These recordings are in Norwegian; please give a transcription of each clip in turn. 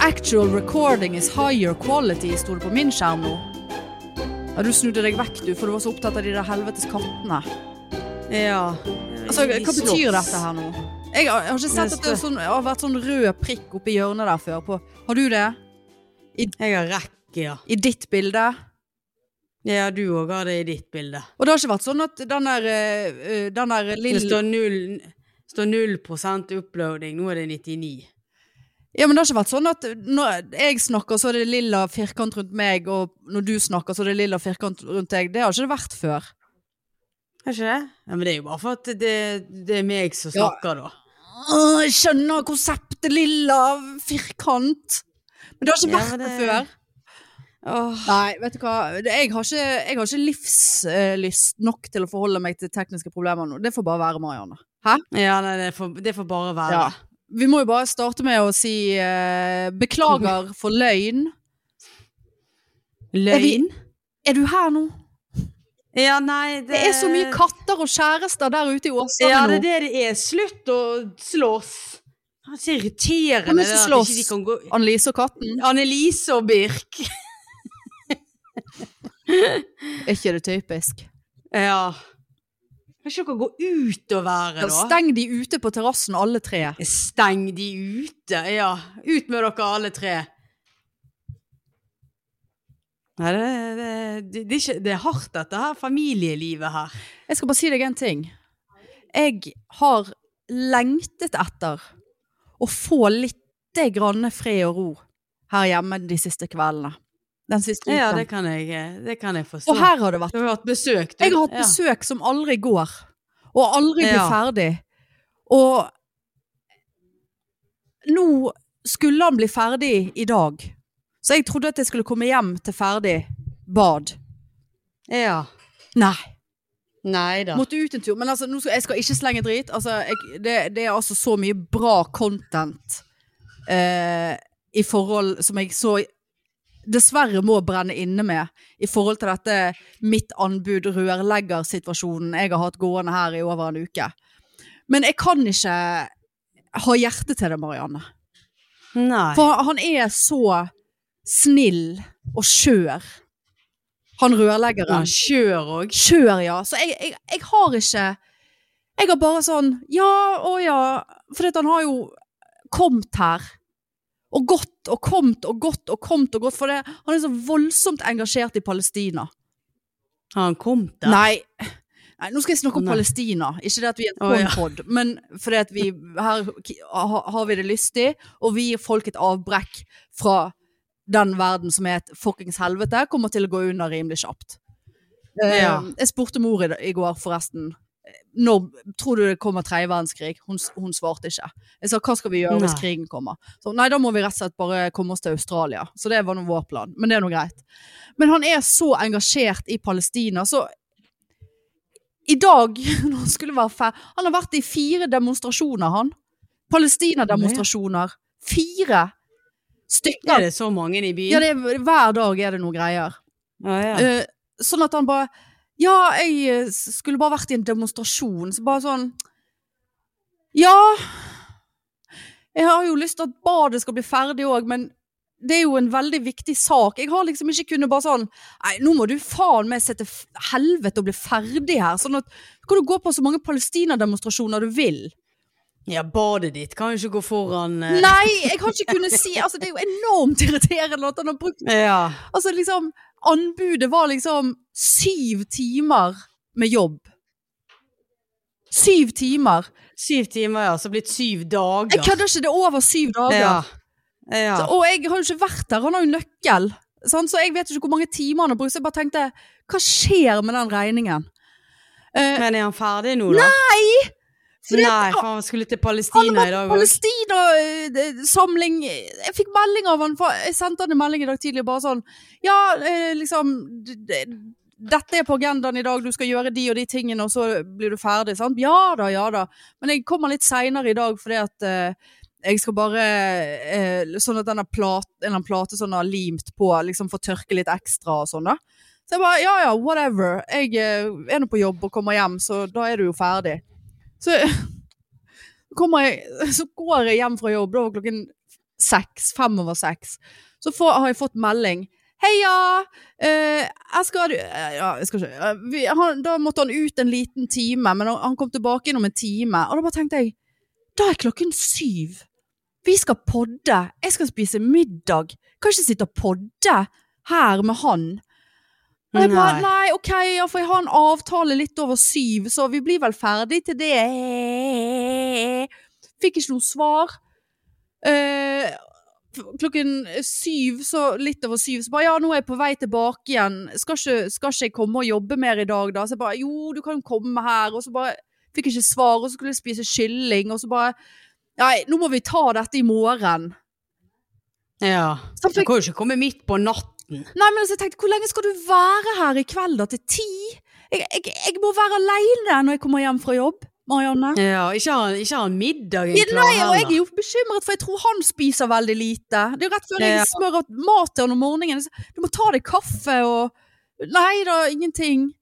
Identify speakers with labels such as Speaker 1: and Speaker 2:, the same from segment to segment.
Speaker 1: Actual recording is higher quality, sto det på min skjerm nå. Ja, du snudde deg vekk, du, for du var så opptatt av de der helvetes kattene.
Speaker 2: Ja.
Speaker 1: Altså,
Speaker 2: De
Speaker 1: hva
Speaker 2: slåss.
Speaker 1: betyr dette her nå? Jeg har, jeg har ikke
Speaker 2: Men
Speaker 1: sett at det er sånn, har vært sånn rød prikk oppi hjørnet der før. På. Har du det?
Speaker 2: Jeg har rekke, ja.
Speaker 1: I ditt bilde?
Speaker 2: Ja, du òg har det i ditt bilde.
Speaker 1: Og det har ikke vært sånn at den der, eh, eh, den der
Speaker 2: Det
Speaker 1: lille
Speaker 2: står null, står 0 uploading, nå er det 99.
Speaker 1: Ja, men det har ikke vært sånn at når jeg snakker, så er det lilla firkant rundt meg, og når du snakker, så er det lilla firkant rundt deg. Det har ikke det vært før.
Speaker 2: Er ikke det? Ja, men det er jo bare for at det, det er meg som
Speaker 1: Ja.
Speaker 2: snakker, da.
Speaker 1: Åh, jeg skjønner konseptet lilla firkant. Men det har ikke
Speaker 2: Ja,
Speaker 1: vært
Speaker 2: men
Speaker 1: det...
Speaker 2: det-
Speaker 1: før.
Speaker 2: Åh,
Speaker 1: Nei, vet du hva. Det- Jeg har ikke, jeg har ikke livslyst nok til å forholde meg til tekniske problemer nå. Det får bare være, Marianne. Hæ?
Speaker 2: Ja, nei, det får, det får bare være.
Speaker 1: Ja. Vi må jo bare starte med å si eh, beklager for løgn. Er vi-
Speaker 2: Løgn?
Speaker 1: Er du her nå?
Speaker 2: Ja, nei, det
Speaker 1: Det er så mye katter og kjærester der ute i Åsane
Speaker 2: Ja, det
Speaker 1: nå.
Speaker 2: er det det er. Slutt å slåss. Det er så irriterende
Speaker 1: Hvem er det som
Speaker 2: det at ikke
Speaker 1: slåss?
Speaker 2: de kan gå
Speaker 1: Annelise og katten.
Speaker 2: Annelise og Birk.
Speaker 1: Er ikke det typisk?
Speaker 2: Ja. Kan ikke dere gå ut og være, da?
Speaker 1: Steng de ute på terrassen, alle tre.
Speaker 2: Steng de ute. Ja. Ut med dere alle tre. Nei, det, det, det, det, er ikke, det er hardt, dette her. Familielivet her.
Speaker 1: Jeg skal bare si deg en ting. Jeg har lengtet etter å få litt grann fred og ro her hjemme de siste kveldene. Den siste uken.
Speaker 2: Ja, det kan jeg, eh, det kan jeg forstå.
Speaker 1: og her har det vært.
Speaker 2: Du har hatt besøk, du.
Speaker 1: Jeg har hatt
Speaker 2: Ja.
Speaker 1: besøk som aldri går, og aldri blir
Speaker 2: Ja.
Speaker 1: ferdig. Og nå skulle han bli ferdig i dag. Så jeg trodde at jeg skulle komme hjem til ferdig bad.
Speaker 2: Ja.
Speaker 1: Nei.
Speaker 2: Nei da.
Speaker 1: Måtte ut en tur. Men altså, nå skal, jeg skal ikke slenge drit. Altså, jeg, det, det er altså så mye bra content eh, i forhold som jeg så dessverre må brenne inne med i forhold til dette mitt anbud rørleggersituasjonen jeg har hatt gående her i over en uke. Men jeg kan ikke ha hjerte til det, Marianne.
Speaker 2: Nei.
Speaker 1: For han er så snill og skjør, han rørleggeren.
Speaker 2: Han kjører òg.
Speaker 1: Kjør, ja. Så jeg, jeg, jeg har ikke Jeg har bare sånn Ja, å ja. For han har jo kommet her. Og gått og kommet og gått og kommet og gått. For det, han er så voldsomt engasjert i Palestina.
Speaker 2: Har han kommet der?
Speaker 1: Nei. Nei, nå skal jeg snakke om
Speaker 2: Nei.
Speaker 1: Palestina. Ikke det at vi er en
Speaker 2: Å, ja.
Speaker 1: pornpod, men fordi at vi her ki- ha, har vi det lystig, og vi gir folk et avbrekk fra den verden som er et fuckings helvete, kommer til å gå under rimelig kjapt. Eh,
Speaker 2: Ja.
Speaker 1: Jeg spurte mor i, i går, forresten. Når tror du det kommer tredje verdenskrig? Hun, s- hun svarte ikke. Jeg sa hva skal vi gjøre hvis
Speaker 2: Nei.
Speaker 1: krigen kommer? Så, nei, da må vi rett og slett bare komme oss til Australia. Så det var nå vår plan. Men det er nå greit. Men han er så engasjert i Palestina, så i dag når han skulle være fer Han har vært i fire demonstrasjoner, han. Palestina-demonstrasjoner. Fire stykker.
Speaker 2: Er det så mange i byen?
Speaker 1: Ja, det er, hver dag er det noen greier.
Speaker 2: Å, ja.
Speaker 1: Eh, sånn at han bare Ja, jeg eh, s- skulle bare vært i en demonstrasjon, så bare sånn Ja. Jeg har jo lyst til at badet skal bli ferdig òg, men det er jo en veldig viktig sak. Jeg har liksom ikke kunnet bare sånn Nei, nå må du faen meg sette f- helvete og bli ferdig her. Sånn at kan du gå på så mange Palestina-demonstrasjoner du vil.
Speaker 2: ja, badet ditt kan jo ikke gå foran eh.
Speaker 1: Nei, jeg har ikke kunnet si Altså, det er jo enormt irriterende at han har brukt
Speaker 2: Ja.
Speaker 1: Altså liksom, anbudet var liksom syv timer med jobb. Syv timer.
Speaker 2: Syv timer, ja. Så blitt syv
Speaker 1: Jeg
Speaker 2: dager.
Speaker 1: kødder ikke, det er over syv Eh, dager.
Speaker 2: Ja. ja.
Speaker 1: Så, og jeg har jo ikke vært der, han har jo nøkkel. Sant? Så jeg vet jo ikke hvor mange timer han har brukt. Så jeg bare tenkte, hva skjer med den regningen? Eh,
Speaker 2: Men er han ferdig nå, da?
Speaker 1: fordi at-
Speaker 2: Nei, for han skulle til Palestina i dag òg.
Speaker 1: Palestina-samling eh, Jeg fikk melding av han, for jeg sendte han en melding i dag tidlig bare sånn Ja, eh, liksom d- d- Dette er på agendaen i dag, du skal gjøre de og de tingene, og så blir du ferdig, sant? Ja da, ja da. Men jeg kommer litt seinere i dag fordi at eh, jeg skal bare eh, Sånn at denne plat, en eller annen plate sånn har limt på, liksom får tørke litt ekstra og sånn, da. Så jeg bare ja ja, whatever. Jeg eh, er nå på jobb og kommer hjem, så da er du jo ferdig. Så kommer jeg, så går jeg hjem fra jobb, da var klokken seks, fem over seks, så får, har jeg fått melding. Heia! Eh, jeg skal eh, Ja, jeg skal ikke eh, vi, han, Da måtte han ut en liten time, men han, han kom tilbake inn om en time. Og da bare tenkte jeg Da er klokken syv. Vi skal podde. Jeg skal spise middag. Kan ikke sitte og podde her med han. Og jeg bare, nei, ok, ja, for jeg har en avtale litt over syv, så vi blir vel ferdig til det. Fikk ikke noe svar. Eh, klokken syv, så litt over syv, så bare, ja, nå er jeg på vei tilbake igjen. Skal ikke, skal ikke jeg komme og jobbe mer i dag, da? Så jeg bare, jo, du kan jo komme her, og så bare, fikk jeg ikke svar, og så skulle jeg spise kylling, og så bare, nei, nå må vi ta dette i morgen.
Speaker 2: Ja.
Speaker 1: Så
Speaker 2: Du
Speaker 1: fikk
Speaker 2: kan jo ikke komme midt på natten.
Speaker 1: Nei, men altså, jeg tenkte, hvor lenge skal du være her i kveld da, til ti? Jeg, jeg, jeg må være alene når jeg kommer hjem fra jobb, Marianne.
Speaker 2: Ja, ikke har ikke har han middagen
Speaker 1: Ja,
Speaker 2: klar
Speaker 1: nei, og jeg er jo bekymret, for jeg tror han spiser veldig lite. Det er jo rett før
Speaker 2: Ja.
Speaker 1: jeg smører mat til han om morgenen. så Du må ta deg kaffe og Nei da, ingenting.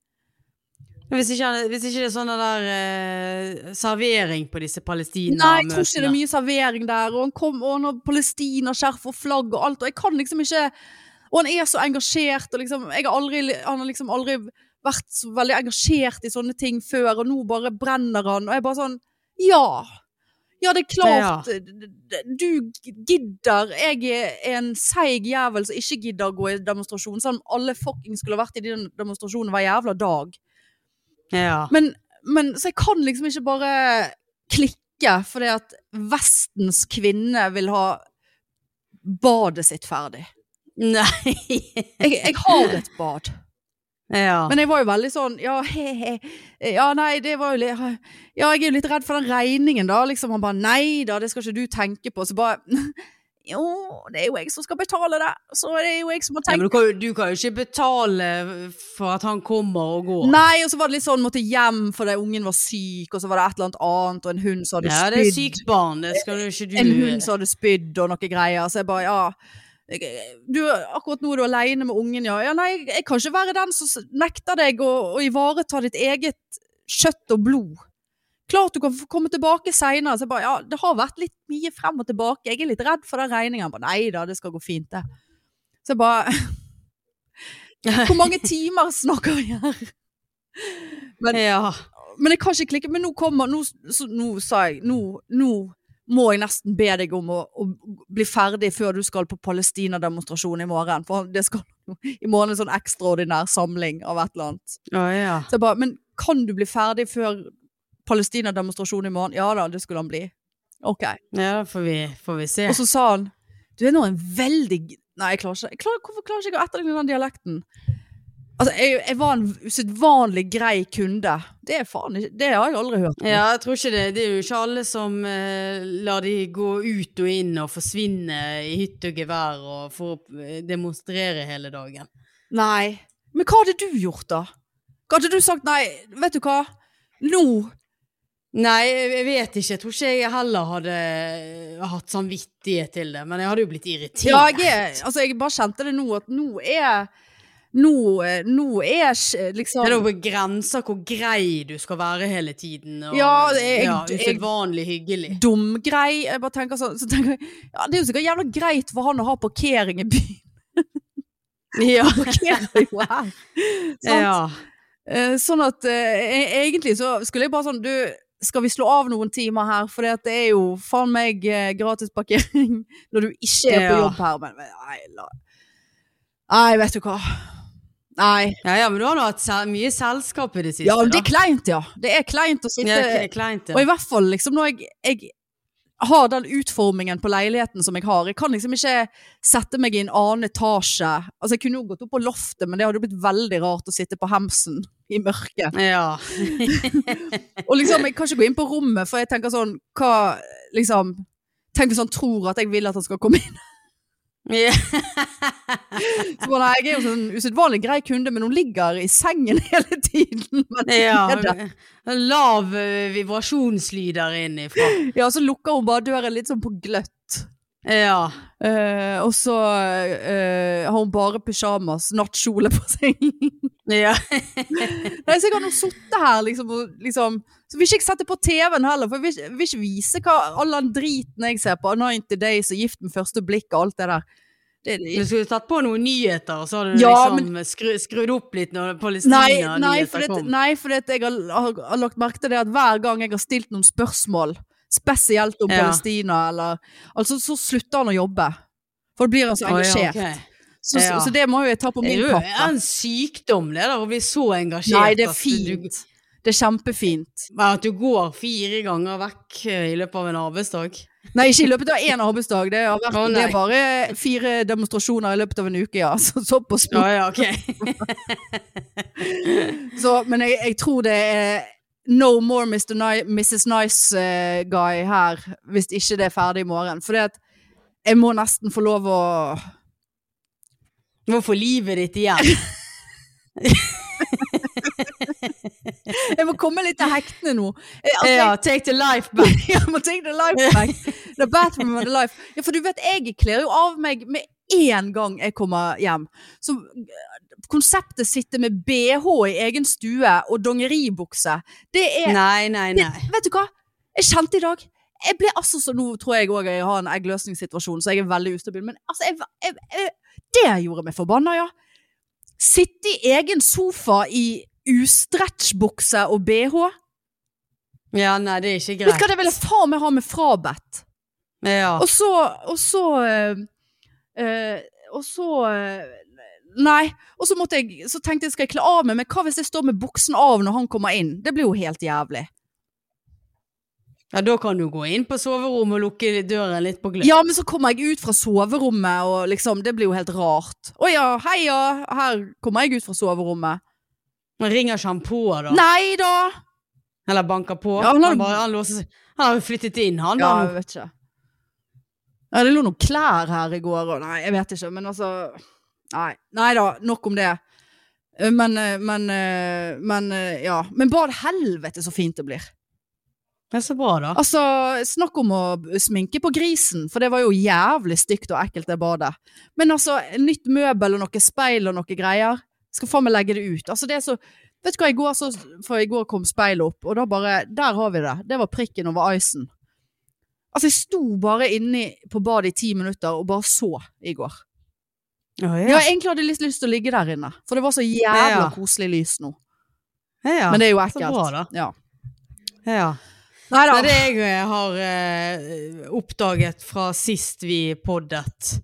Speaker 2: Hvis ikke, han- hvis ikke det er sånn den der eh, servering på disse
Speaker 1: Nei, jeg tror ikke det er
Speaker 2: Palestina-møtene.
Speaker 1: mye servering der. Og han kom, og han har palestinaskjerf og flagg og alt, og jeg kan liksom ikke Og han er så engasjert, og liksom jeg har aldri, Han har liksom aldri vært så veldig engasjert i sånne ting før, og nå bare brenner han, og jeg bare sånn Ja! Ja, det er klart du gidder. Jeg er en seig jævel som ikke gidder å gå i demonstrasjon, selv om alle fucking skulle ha vært i den demonstrasjonen hver jævla dag.
Speaker 2: Ja.
Speaker 1: Men, men så jeg kan liksom ikke bare klikke fordi at vestens kvinne vil ha badet sitt ferdig.
Speaker 2: Nei.
Speaker 1: Jeg, jeg har et bad.
Speaker 2: Ja.
Speaker 1: Men jeg var jo veldig sånn Ja, he-he. Ja, nei, det var jo litt Ja, jeg er jo litt redd for den regningen, da. Liksom, han bare Nei da, det skal ikke du tenke på. Så bare Jo, det er jo jeg som skal betale det. Så er det jo jeg som må
Speaker 2: Ja,
Speaker 1: tenke
Speaker 2: men du kan, jo- du kan jo ikke betale for at han kommer og går.
Speaker 1: Nei, og så var det litt sånn måtte hjem fordi ungen var syk, og så var det et eller annet annet, og en hund som hadde
Speaker 2: Ja, det er
Speaker 1: spydd.
Speaker 2: sykt barn, det skal jo ikke du
Speaker 1: en hund som hadde spydd og noe greier, så jeg bare, ja du, akkurat nå er du alene med ungen, ja. ja nei, jeg, jeg kan ikke være den som s- nekter deg å, å ivareta ditt eget kjøtt og blod. Klart du kan få komme tilbake senere. Så jeg bare, ja, det har vært litt mye frem og tilbake. Jeg er litt redd for den regningen. Han bare, nei da, det skal gå fint det. Så jeg bare, hvor mange timer snakker vi her?
Speaker 2: Ja.
Speaker 1: Men jeg kan ikke klikke, men nå kommer Nå, så, nå sa jeg nå, nå må jeg nesten be deg om å, å bli ferdig før du skal på Palestina-demonstrasjon i morgen. For det skal i morgen en sånn ekstraordinær samling av et eller annet.
Speaker 2: Å, ja.
Speaker 1: Så jeg bare Men kan du bli ferdig før Palestina-demonstrasjon i morgen? Ja da, det skulle han bli. Ok.
Speaker 2: ja, da får vi, får vi se.
Speaker 1: Og så sa han Du er nå en veldig g- Nei, jeg klarer ikke jeg klarer, Hvorfor klarer ikke jeg å etterligne den dialekten? Altså, jeg, jeg var en usedvanlig grei kunde. Det er faen ikke Det har jeg aldri hørt. om.
Speaker 2: Ja, jeg tror ikke det. Det er jo ikke alle som eh, lar de gå ut og inn og forsvinne i hytt og gevær og få eh, demonstrere hele dagen.
Speaker 1: Nei. Men hva hadde du gjort, da? Hva hadde du sagt nei, vet du hva? Nå
Speaker 2: Nei, jeg jeg vet ikke. Jeg tror ikke jeg heller hadde eh, hatt samvittighet til det. Men jeg hadde jo blitt irritert.
Speaker 1: Ja, jeg er Altså, jeg bare kjente det nå, at nå er Nå, eh, nå er ikke, liksom
Speaker 2: Det er jo på grenser hvor grei du skal være hele tiden. Og,
Speaker 1: Ja, jeg-
Speaker 2: ja,
Speaker 1: jeg-
Speaker 2: Usedvanlig hyggelig.
Speaker 1: dumgrei. Jeg bare tenker sånn så tenker jeg, ja, Det er jo sikkert jævla greit for han å ha parkering i byen.
Speaker 2: Ja.
Speaker 1: Parkerer jo her. Sant?
Speaker 2: ja.
Speaker 1: Eh, sånn at eh, e- egentlig så skulle jeg bare sånn Du, skal vi slå av noen timer her? For det er jo faen meg eh, gratis parkering når du ikke er på
Speaker 2: Ja.
Speaker 1: jobb her. Men men nei, la Nei, vet du hva. Nei.
Speaker 2: Ja, ja, men du har nå hatt sel mye selskap i det siste.
Speaker 1: Ja, men det er
Speaker 2: da.
Speaker 1: kleint, ja. Det er kleint å sitte
Speaker 2: Ja, det er kleint,
Speaker 1: Og
Speaker 2: ja.
Speaker 1: i hvert fall liksom når jeg, jeg har den utformingen på leiligheten som jeg har. Jeg kan liksom ikke sette meg i en annen etasje. Altså, jeg kunne jo gått opp på loftet, men det hadde jo blitt veldig rart å sitte på hemsen i mørket.
Speaker 2: Ja.
Speaker 1: Og liksom, jeg kan ikke gå inn på rommet, for jeg tenker sånn Hva liksom Tenk hvis han tror at jeg vil at han skal komme inn.
Speaker 2: Ja.
Speaker 1: Så bare, nei, jeg er jo sånn usedvanlig grei kunde, men hun ligger i sengen hele tiden. Men,
Speaker 2: ja. Lav eh, vibrasjonslyder innifra.
Speaker 1: ja, så lukker hun bare døren litt sånn på gløtt.
Speaker 2: Ja.
Speaker 1: Eh, og så eh, har hun bare pysjamas, nattkjole på seg.
Speaker 2: ja.
Speaker 1: Nei, så jeg har nå sittet her, liksom, og liksom Så vil ikke jeg sette på TV-en heller, for jeg vil, ikke- vil ikke vise hva all den driten jeg ser på. 90 Days og Gift med første blikk og alt det der. Det,
Speaker 2: Du skulle tatt på noen nyheter, og så hadde du
Speaker 1: Ja,
Speaker 2: liksom skru, skrudd opp litt når
Speaker 1: nei, nei,
Speaker 2: Palestina-nyheter
Speaker 1: for det,
Speaker 2: kom.
Speaker 1: nei, for det, jeg har, har, har lagt merke til det at hver gang jeg har stilt noen spørsmål, spesielt om
Speaker 2: Ja.
Speaker 1: Palestina, eller Altså, så slutter han å jobbe. For da blir han så
Speaker 2: Å, ja,
Speaker 1: engasjert.
Speaker 2: ok.
Speaker 1: så,
Speaker 2: Ja.
Speaker 1: så, så det må jo jeg ta på
Speaker 2: Det
Speaker 1: min
Speaker 2: er jo
Speaker 1: kappe.
Speaker 2: en sykdom, det der, å bli så engasjert.
Speaker 1: Nei, det er
Speaker 2: at du-
Speaker 1: fint. Det er kjempefint.
Speaker 2: At du går fire ganger vekk eh, i løpet av en arbeidsdag.
Speaker 1: Nei, ikke i løpet av én arbeidsdag. Det, har vært,
Speaker 2: Å, nei.
Speaker 1: det er bare fire demonstrasjoner i løpet av en uke, ja. Så, så på spor.
Speaker 2: Ja, ja, ok.
Speaker 1: Så, men jeg, jeg tror det er no more Mr. Ni Mrs. Nice eh, Guy her, hvis ikke det er ferdig i morgen. For det at jeg må nesten få lov å
Speaker 2: Du må få livet ditt igjen.
Speaker 1: Jeg må komme litt til hektene nå. Jeg, altså,
Speaker 2: Ja, take the life back.
Speaker 1: jeg, jeg må tenke the life back. The bathroom and the life. Ja, for du vet, jeg kler jo av meg med en gang jeg kommer hjem. Så eh, konseptet sitte med BH i egen stue og dongeribukse, det er
Speaker 2: Nei, nei,
Speaker 1: Det-
Speaker 2: nei.
Speaker 1: Vet du hva? Jeg kjente i dag jeg ble altså så, Nå tror jeg òg jeg har en eggløsningssituasjon, så jeg er veldig ustabil, men altså, jeg, jeg, jeg, det gjorde meg forbanna, ja. Sitte i egen sofa i ustretchbukse og bh.
Speaker 2: Ja, nei, det er ikke greit.
Speaker 1: Vet du hva, det ville faen meg ha meg frabedt.
Speaker 2: Ja.
Speaker 1: Og så Og så eh, eh, Og så eh, Nei. Og så, måtte jeg, så tenkte jeg skal jeg kle av meg, men hva hvis jeg står med buksen av når han kommer inn? Det blir jo helt jævlig.
Speaker 2: ja, da kan du gå inn på soverommet og lukke døren litt på gløtt.
Speaker 1: Ja, men så kommer jeg ut fra soverommet, og liksom, det blir jo helt rart. Å ja, heia, her kommer jeg ut fra soverommet.
Speaker 2: Men Ringer ikke han på, da?
Speaker 1: Nei da!
Speaker 2: Eller banker på?
Speaker 1: Ja, han
Speaker 2: han,
Speaker 1: har-
Speaker 2: bare, han, låser, seg- han har jo flyttet inn, han.
Speaker 1: Ja,
Speaker 2: da.
Speaker 1: jeg vet ikke. Ja, det lå noen klær her i går, og nei, jeg vet ikke, men altså Nei, nei da, nok om det. Eh, Men, eh, men, eh, men eh, ja. Men bad helvete så fint det blir.
Speaker 2: Det er så bra, da.
Speaker 1: Altså, snakk om å sminke på grisen, for det var jo jævlig stygt og ekkelt det badet. Men altså, nytt møbel og noe speil og noe greier. Skal faen meg legge det ut. Altså, det er så Vet du hva, i går, så, for i går kom speilet opp, og da bare Der har vi det. Det var prikken over icen. Altså, jeg sto bare inni på badet i ti minutter og bare så i går.
Speaker 2: Ja,
Speaker 1: Ja,
Speaker 2: ja.
Speaker 1: egentlig hadde jeg litt lyst til å ligge der inne, for det var så jævla
Speaker 2: Ja.
Speaker 1: koselig lys nå.
Speaker 2: ja, ja.
Speaker 1: Men det er jo
Speaker 2: så
Speaker 1: ekkelt.
Speaker 2: bra, da.
Speaker 1: Ja.
Speaker 2: ja.
Speaker 1: Nei da.
Speaker 2: Nei, det jeg eh, har eh, oppdaget fra sist vi poddet,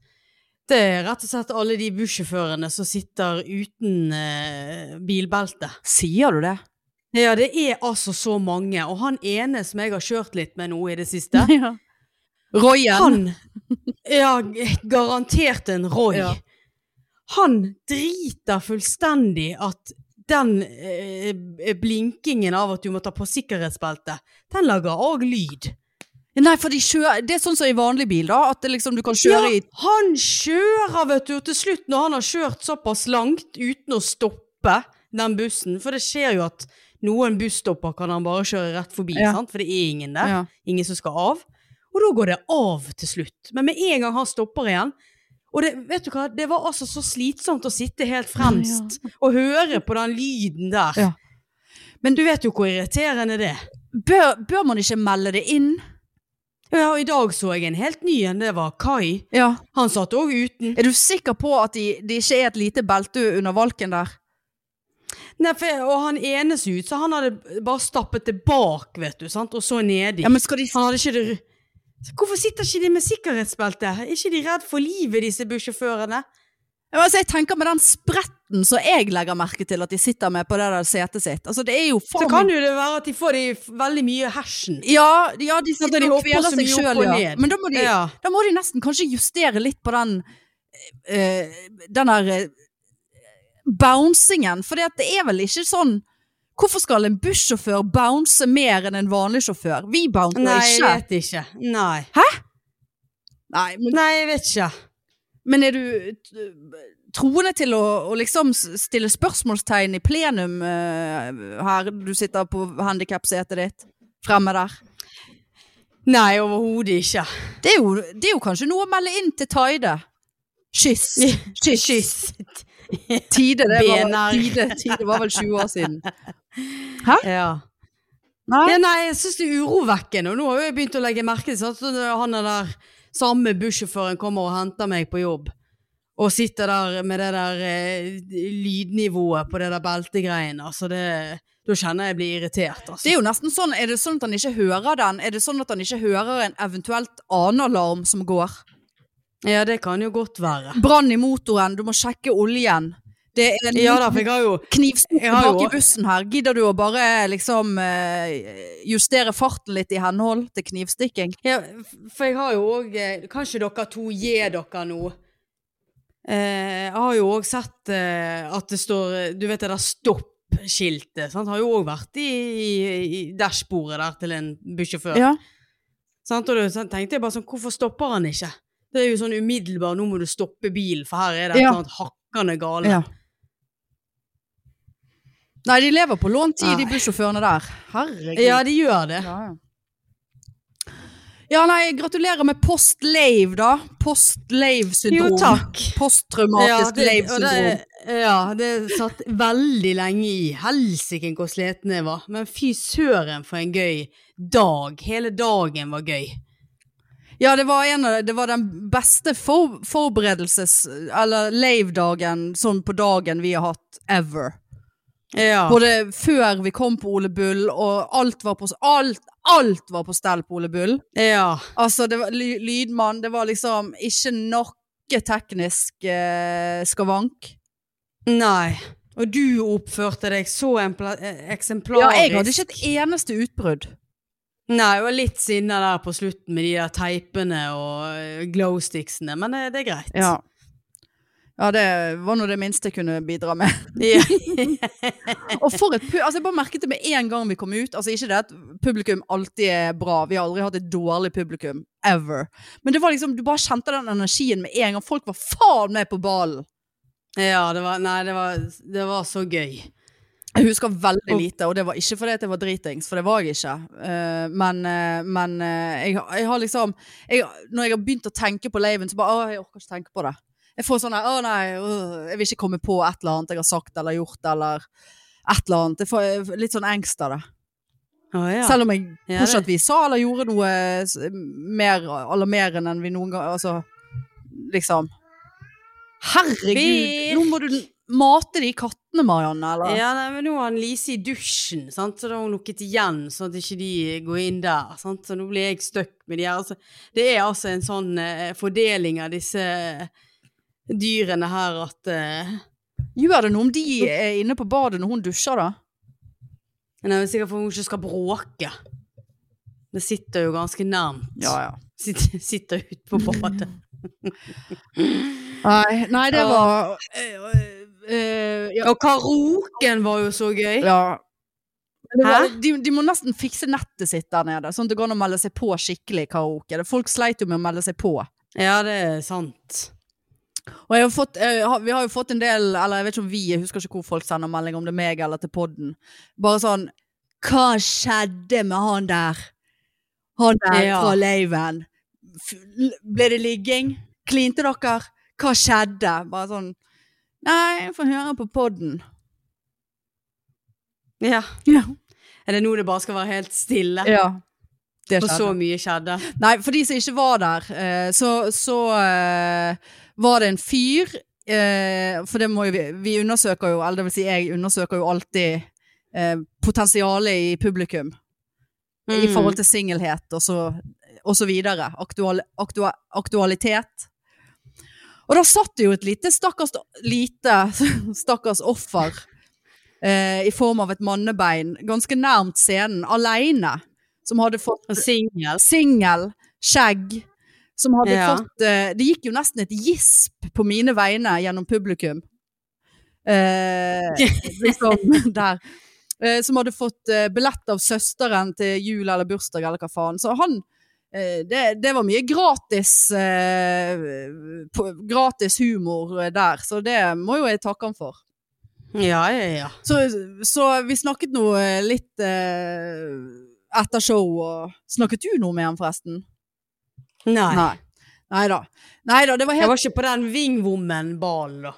Speaker 2: det er rett og slett alle de bussjåførene som sitter uten eh, bilbelte.
Speaker 1: Sier du det?
Speaker 2: Ja, det er altså så mange, og han ene som jeg har kjørt litt med nå i det siste,
Speaker 1: Ja. Royen.
Speaker 2: han Ja, g- garantert en Roy.
Speaker 1: Ja.
Speaker 2: Han driter fullstendig at den eh, blinkingen av at du må ta på sikkerhetsbelte, den lager òg lyd.
Speaker 1: Nei, for de kjører, det er sånn som i vanlig bil da, at det liksom du kan kjøre i
Speaker 2: ja, Han kjører, vet du, og til slutt når han har kjørt såpass langt uten å stoppe den bussen, for det skjer jo at noen busstopper kan han bare kjøre rett forbi,
Speaker 1: Ja.
Speaker 2: sant? for det er ingen der,
Speaker 1: ja.
Speaker 2: ingen som skal av. Og da går det av til slutt. Men med en gang han stopper igjen, og det, vet du hva, det var altså så slitsomt å sitte helt fremst og høre på den lyden der.
Speaker 1: Ja.
Speaker 2: Men du vet jo hvor irriterende det er.
Speaker 1: Bør, bør man ikke melde det inn?
Speaker 2: Ja, og i dag så jeg en helt ny en, det var Kai.
Speaker 1: Ja.
Speaker 2: Han satt òg uten.
Speaker 1: Er du sikker på at de, de ikke er et lite belte under valken der?
Speaker 2: Nei, for, og han ene så ut, så han hadde bare stappet det bak, vet du, sant? og så nedi.
Speaker 1: Ja, men skal de...
Speaker 2: Han hadde ikke det... ru- Så Hvorfor sitter ikke de med sikkerhetsbelte? Er ikke de redd for livet, disse bussjåførene?
Speaker 1: Ja, men Altså, jeg tenker med den spretten som jeg legger merke til at de sitter med på det der setet sitt. Altså, det er jo faen...
Speaker 2: Så kan jo det være at de får de f- veldig mye hersen.
Speaker 1: Ja, ja, de sitter
Speaker 2: de
Speaker 1: og
Speaker 2: hopper
Speaker 1: kveler
Speaker 2: så
Speaker 1: seg
Speaker 2: mye
Speaker 1: selv,
Speaker 2: opp og
Speaker 1: ja.
Speaker 2: ned.
Speaker 1: Men da må, de,
Speaker 2: Ja.
Speaker 1: da må de nesten kanskje justere litt på den... eh, den der... eh, bouncingen, for det er vel ikke sånn... Hvorfor skal en bussjåfør bounce mer enn en vanlig sjåfør? Vi bouncer
Speaker 2: Nei, jeg
Speaker 1: ikke.
Speaker 2: vet ikke. Nei.
Speaker 1: Nei, men
Speaker 2: Nei, jeg vet ikke.
Speaker 1: Men er du t- troende til å, å liksom s- stille spørsmålstegn i plenum eh, her du sitter på handikapsetet ditt? Fremme der.
Speaker 2: Nei, overhodet ikke.
Speaker 1: Det er, jo, det er jo kanskje noe å melde inn til Taide. Kyss. Kyss.
Speaker 2: Kyss.
Speaker 1: Tide, det
Speaker 2: Benar.
Speaker 1: var, tide, tide var vel 20 år siden.
Speaker 2: Ja.
Speaker 1: Nei.
Speaker 2: Ja, nei, jeg syns det er urovekkende, og nå har jo jeg begynt å legge merke til sant, at han er der samme bussjåføren kommer og henter meg på jobb, og sitter der med det der eh, lydnivået på det der beltegreiene. Altså det Da kjenner jeg blir irritert, altså.
Speaker 1: Det er jo nesten sånn, er det sånn at han ikke hører den? Er det sånn at han ikke hører en eventuelt annen alarm som går?
Speaker 2: Ja, det kan jo godt være.
Speaker 1: Brann i motoren, du må sjekke oljen. Det er en
Speaker 2: Ja da, for jeg har jo
Speaker 1: knivstukk
Speaker 2: Jeg har
Speaker 1: bak
Speaker 2: jo-
Speaker 1: i bussen her. Gidder du å bare liksom eh, justere farten litt i henhold til knivstikking?
Speaker 2: ja, For jeg har jo òg Kanskje dere to gir dere noe? Eh, jeg har jo òg sett eh, at det står eh, Du vet det der stopp-skiltet? sant? Har jo òg vært i, i, i dashbordet der til en bussjåfør.
Speaker 1: Ja.
Speaker 2: Sant? Og da sånn tenkte jeg bare sånn Hvorfor stopper han ikke? Det er jo sånn umiddelbar 'nå må du stoppe bilen', for her er det et
Speaker 1: Ja.
Speaker 2: eller annet hakkende gale.
Speaker 1: Ja. Nei, de lever på lånt tid, de
Speaker 2: Nei.
Speaker 1: bussjåførene der. Herregud.
Speaker 2: Ja, de gjør det.
Speaker 1: Ja, ja. ja, nei, gratulerer med post-lave, da. Post-lave-syndrom.
Speaker 2: Jo, takk.
Speaker 1: Posttraumatisk
Speaker 2: og
Speaker 1: lave-syndrom.
Speaker 2: det- ja, det satt veldig lenge i. Helsike hvor sliten jeg var. Men fy søren for en gøy dag. Hele dagen var gøy.
Speaker 1: Ja, det var, en, av- det var den beste for, forberedelses... Eller lave-dagen sånn på dagen vi har hatt ever.
Speaker 2: Ja.
Speaker 1: Både før vi kom på Ole Bull, og alt var på, s- alt, alt var på stell på Ole Bull.
Speaker 2: ja.
Speaker 1: Altså, det var ly, lydmann, det var liksom ikke noe teknisk eh, skavank.
Speaker 2: Nei. Og du oppførte deg så empla- eh,
Speaker 1: Ja,
Speaker 2: eksemplarisk.
Speaker 1: jeg hadde ikke et eneste utbrudd.
Speaker 2: Nei, og litt sinne der på slutten med de der teipene og eh, glowsticksene, men eh, det er greit.
Speaker 1: Ja. ja, det var nå det minste jeg kunne bidra med.
Speaker 2: Ja.
Speaker 1: Og for et pu altså Jeg bare merket det med en gang vi kom ut. Altså Ikke det at publikum alltid er bra, vi har aldri hatt et dårlig publikum. Ever. Men det var liksom, du bare kjente den energien med en gang. Folk var faen meg på ballen!
Speaker 2: ja, det var Nei, det var, det var så gøy.
Speaker 1: Jeg husker veldig
Speaker 2: Og-
Speaker 1: lite, og det var ikke fordi at jeg var dritings, for det var jeg ikke. Eh, men eh, men eh, jeg, har- jeg har liksom jeg, Når jeg har begynt å tenke på laven, så bare Å, jeg orker ikke tenke på det. Jeg får sånn her, Å, nei, øh, jeg vil ikke komme på et eller annet jeg har sagt eller gjort, eller et eller annet. Jeg får jeg får litt sånn engst av det.
Speaker 2: Å, ja.
Speaker 1: Selv om jeg
Speaker 2: Ja,
Speaker 1: kanskje
Speaker 2: det-
Speaker 1: at vi sa eller gjorde noe s- mer alarmerende enn vi noen gang Altså, liksom Herregud!
Speaker 2: Birk!
Speaker 1: Nå må du mate de kattene, Marianne, eller?
Speaker 2: Ja, nei, men nå har han Lise i dusjen, sant? så da har hun lukket igjen, sånn at ikke de går inn der. Sant? Så nå blir jeg støkk med de her. Altså, det er altså en sånn eh, fordeling av disse dyrene her at eh,
Speaker 1: Gjør det noe om de er inne på badet når hun dusjer, da?
Speaker 2: Nei, men sikkert for hun ikke skal bråke. Det sitter jo ganske nærmt.
Speaker 1: ja.
Speaker 2: Sitter, sitter ut på badet.
Speaker 1: Nei, nei det
Speaker 2: Ja.
Speaker 1: var eh, eh, ja.
Speaker 2: Og karaoken var jo så gøy.
Speaker 1: ja. Det var,
Speaker 2: Hæ?
Speaker 1: de, de må nesten fikse nettet sitt der nede, sånn at det går an å melde seg på skikkelig i karaoke. Det- Folk sleit jo med å melde seg på.
Speaker 2: Ja, det er sant.
Speaker 1: Og jeg har fått, eh, har- vi har jo fått en del, eller jeg vet ikke om vi, jeg husker ikke hvor folk sender melding, om det er meg eller til podden. Bare sånn, hva skjedde med han der? Han der
Speaker 2: Ja.
Speaker 1: fra leiven. F- l- Ble det ligging? Klinte dere? Hva skjedde? Bare sånn, nei, jeg får høre på podden.
Speaker 2: Ja.
Speaker 1: Ja.
Speaker 2: Er det nå det bare skal være helt stille?
Speaker 1: Det
Speaker 2: For
Speaker 1: skjedde.
Speaker 2: så mye skjedde.
Speaker 1: Nei, for de som ikke var der, eh, så, så eh, var det en fyr eh, For det må jo vi, vi undersøker jo, eller det vil si jeg undersøker jo alltid eh, potensialet i publikum
Speaker 2: Mm.
Speaker 1: i forhold til singelhet og så, og så videre. Aktual, aktua, aktualitet. Og da satt det jo et lite, stakkars, lite, stakkars offer eh, i form av et mannebein ganske nærmt scenen, aleine, som hadde fått
Speaker 2: Og singel.
Speaker 1: singel, skjegg, som hadde
Speaker 2: Ja.
Speaker 1: fått eh, Det gikk jo nesten et gisp på mine vegne gjennom publikum. Eh, liksom der. Eh, som hadde fått eh, billett av søsteren til jul eller bursdag eller hva faen. Så han eh, det, det var mye gratis eh, på, gratis humor eh, der, så det må jo jeg takke han for.
Speaker 2: Ja, ja, ja.
Speaker 1: Så, så vi snakket nå eh, litt eh, etter show og Snakket du noe med han forresten?
Speaker 2: Nei.
Speaker 1: Nei. Nei da. Nei da, det var
Speaker 2: Jeg
Speaker 1: helt
Speaker 2: var ikke på den Wingwoman-ballen, da.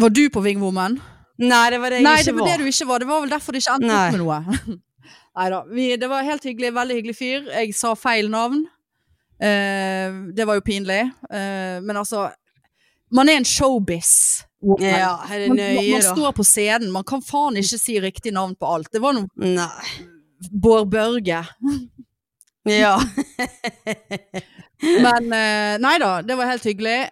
Speaker 1: Var du på Wingwoman?
Speaker 2: Nei, det var det jeg
Speaker 1: Nei,
Speaker 2: ikke
Speaker 1: det var
Speaker 2: var.
Speaker 1: det du ikke var. Det var vel derfor det ikke endte opp med noe. Nei da. Det var helt hyggelig. Veldig hyggelig fyr. Jeg sa feil navn. Eh, det var jo pinlig. Eh, men altså Man er en showbiz.
Speaker 2: Ja, er det
Speaker 1: man, man,
Speaker 2: nøye,
Speaker 1: man
Speaker 2: da?
Speaker 1: står på scenen. Man kan faen ikke si riktig navn på alt. Det var noe
Speaker 2: Nei.
Speaker 1: Bård Børge.
Speaker 2: Ja.
Speaker 1: Men eh, nei da, det var helt hyggelig.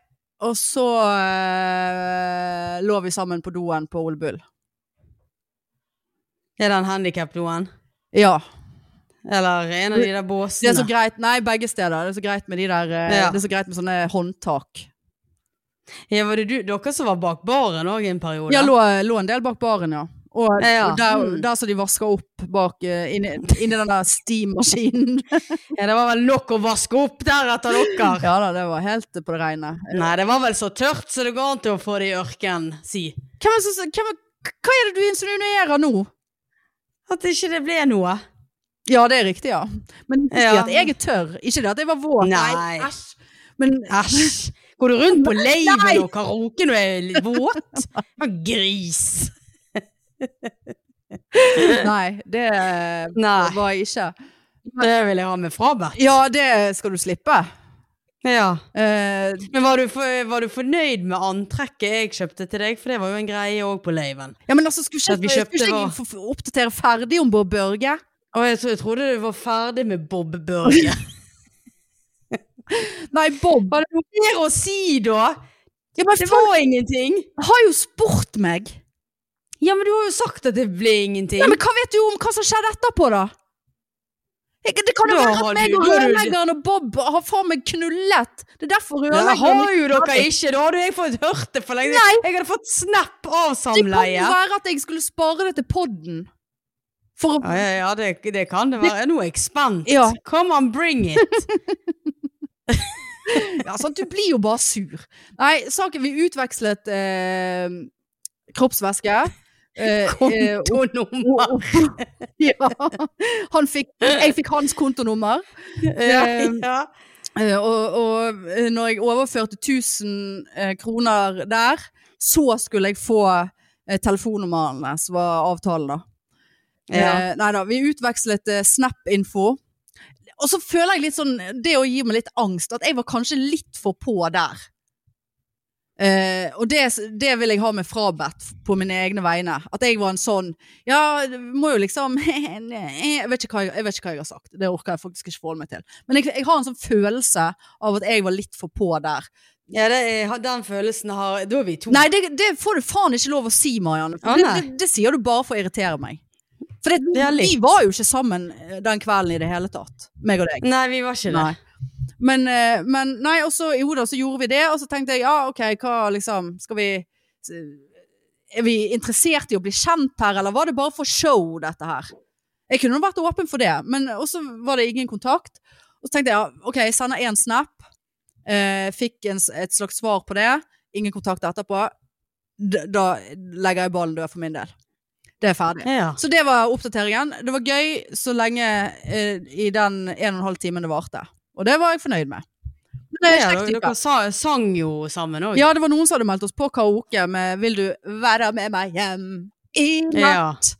Speaker 1: Og så eh, lå vi sammen på doen på Ole Bull.
Speaker 2: Er den handikapdoen?
Speaker 1: Ja.
Speaker 2: Eller en av de
Speaker 1: Det
Speaker 2: der
Speaker 1: er så
Speaker 2: båsene?
Speaker 1: greit, nei, begge steder. Det er så greit med de der eh,
Speaker 2: Ja.
Speaker 1: Det er så greit med sånne håndtak.
Speaker 2: Ja, var det du, dere som var bak baren òg en periode?
Speaker 1: Ja, lå, lå en del bak baren, ja. Og,
Speaker 2: Ja.
Speaker 1: og der,
Speaker 2: Mm.
Speaker 1: der som de vasker opp bak eh, inni, inni den der steammaskinen.
Speaker 2: Ja, det var vel nok å vaske opp der etter dere.
Speaker 1: ja da, det var helt på det rene.
Speaker 2: Nei, det var vel så tørt så det går an til å få det i ørken, si.
Speaker 1: Hvem er det som- hvem er- hva er det du insinuerer nå?
Speaker 2: At ikke det ble noe.
Speaker 1: Ja, det er riktig, ja. Men ikke
Speaker 2: Ja.
Speaker 1: det at jeg er tørr. Ikke det at jeg var våt.
Speaker 2: Nei.
Speaker 1: æsj. Men
Speaker 2: Æsj. Går du rundt på
Speaker 1: Nei.
Speaker 2: leiven og karaoken og er litt våt? Men Gris.
Speaker 1: nei, det eh,
Speaker 2: Nei,
Speaker 1: var jeg ikke.
Speaker 2: det vil jeg ha meg frabedt.
Speaker 1: Ja, det skal du slippe.
Speaker 2: Ja.
Speaker 1: Eh,
Speaker 2: Men var du, for, var du fornøyd med antrekket jeg kjøpte til deg? For det var jo en greie òg på leiven.
Speaker 1: ja, men altså, skulle
Speaker 2: At vi
Speaker 1: ikke, skulle
Speaker 2: kjøpte
Speaker 1: ikke jeg
Speaker 2: var-
Speaker 1: få- få oppdatere ferdig om Bård Børge?
Speaker 2: Og jeg, tro, jeg trodde du var ferdig med Bob Børge.
Speaker 1: Nei, Bob.
Speaker 2: Mer å si, da!
Speaker 1: Ja, men
Speaker 2: Det
Speaker 1: folk
Speaker 2: var ingenting.
Speaker 1: har jo spurt meg.
Speaker 2: Ja, men du har jo sagt at det ble ingenting.
Speaker 1: Ja, men hva vet du om hva som skjedde etterpå, da? Jeg, det kan jo
Speaker 2: Da
Speaker 1: være
Speaker 2: har
Speaker 1: at meg
Speaker 2: du-
Speaker 1: og
Speaker 2: da har du-
Speaker 1: rørleggeren og Bob har faen meg knullet. Det er derfor
Speaker 2: Ja, det
Speaker 1: rørleggeren
Speaker 2: har jo dere ikke! Da hadde jeg fått hørt det for lenge
Speaker 1: Nei.
Speaker 2: Jeg hadde fått snap av
Speaker 1: Det kan jo
Speaker 2: samleie.
Speaker 1: være at jeg skulle spare det til podden. For å
Speaker 2: Ja, ja, ja det, det kan det være. Nå er jeg spent.
Speaker 1: Ja.
Speaker 2: Come on, bring it!
Speaker 1: ja, sant? altså, Du blir jo bare sur. Nei, saken vi utvekslet eh, kroppsvæske. Eh, eh, og-
Speaker 2: Kontonummer.
Speaker 1: ja. Han fikk, jeg fikk hans kontonummer.
Speaker 2: Ja, ja.
Speaker 1: Eh, og, og eh, når jeg overførte 1000 eh, kroner der, så skulle jeg få eh, telefonnummeren hans, var avtalen da.
Speaker 2: Ja.
Speaker 1: Eh, nei da, vi utvekslet eh, Snap-info. Og så føler jeg litt sånn, det å gi meg litt angst, at jeg var kanskje litt for på der. Eh, og det, det vil jeg ha meg frabedt på mine egne vegne. At jeg var en sånn Ja, du må jo liksom jeg vet, ikke hva jeg, jeg vet ikke hva jeg har sagt. Det orker jeg faktisk ikke forholde meg til. Men jeg, jeg har en sånn følelse av at jeg var litt for på der.
Speaker 2: ja det er, den følelsen har Da er vi to.
Speaker 1: Nei, det, det får du faen ikke lov å si, Marianne. For
Speaker 2: Å,
Speaker 1: det,
Speaker 2: nei.
Speaker 1: det, det sier du bare for å irritere meg. For det,
Speaker 2: Det er
Speaker 1: vi
Speaker 2: litt.
Speaker 1: var jo ikke sammen eh, den kvelden i det hele tatt, meg og deg.
Speaker 2: Nei, vi var ikke det.
Speaker 1: Nei. Men, eh, men nei, og så, jo da, så gjorde vi det, og så tenkte jeg, ja, ok, hva liksom, skal vi Er vi interessert i å bli kjent her, eller var det bare for show, dette her? Jeg kunne jo vært åpen for det, men også var det ingen kontakt. Og så tenkte jeg, ja, ok, jeg sender én snap. Eh, fikk en, s- et slags svar på det. Ingen kontakt etterpå. D da legger jeg ballen død for min del. Det er ferdig.
Speaker 2: Ja.
Speaker 1: Så det var oppdateringen. Det var gøy så lenge eh, i den en og en halv timen det varte. Og det var jeg fornøyd med. Men det er
Speaker 2: Ja,
Speaker 1: kjekt
Speaker 2: dere
Speaker 1: type.
Speaker 2: dere sa, sang jo sammen òg.
Speaker 1: Ja, det var noen som hadde meldt oss på karaoke med 'Vil du være med meg hjem i
Speaker 2: Ja.
Speaker 1: natt'?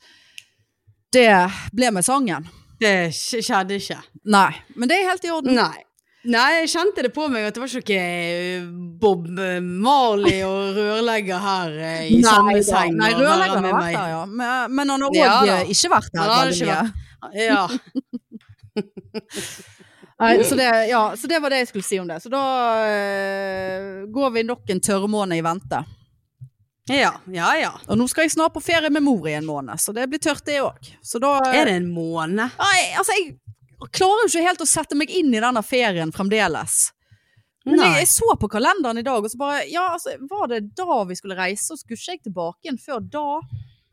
Speaker 1: Det ble med sangen.
Speaker 2: Det sk- skjedde ikke.
Speaker 1: Nei, men det er helt i orden.
Speaker 2: Nei. Nei, jeg kjente det på meg at det var ikke noe Bob eh, Marley og rørlegger her eh, i samme
Speaker 1: da.
Speaker 2: seng.
Speaker 1: Nei,
Speaker 2: og være
Speaker 1: rørleggeren
Speaker 2: med
Speaker 1: har vært
Speaker 2: meg.
Speaker 1: der, ja. Men, men han har òg
Speaker 2: Ja, da.
Speaker 1: ikke vært der
Speaker 2: Han har
Speaker 1: veldig
Speaker 2: ikke
Speaker 1: mye.
Speaker 2: vært- Ja.
Speaker 1: Nei, så, det, ja, så det var det jeg skulle si om det. Så da eh, går vi nok en tørrmåned i vente.
Speaker 2: ja. Ja ja.
Speaker 1: Og nå skal jeg snart på ferie med mor i en måned, så det blir tørt det òg. Så da
Speaker 2: Er det en måned?
Speaker 1: Nei, altså, jeg klarer jo ikke helt å sette meg inn i denne ferien fremdeles. Men jeg,
Speaker 2: Nei.
Speaker 1: jeg så på kalenderen i dag, og så bare Ja, altså, var det da vi skulle reise, og skulle ikke jeg tilbake igjen før da?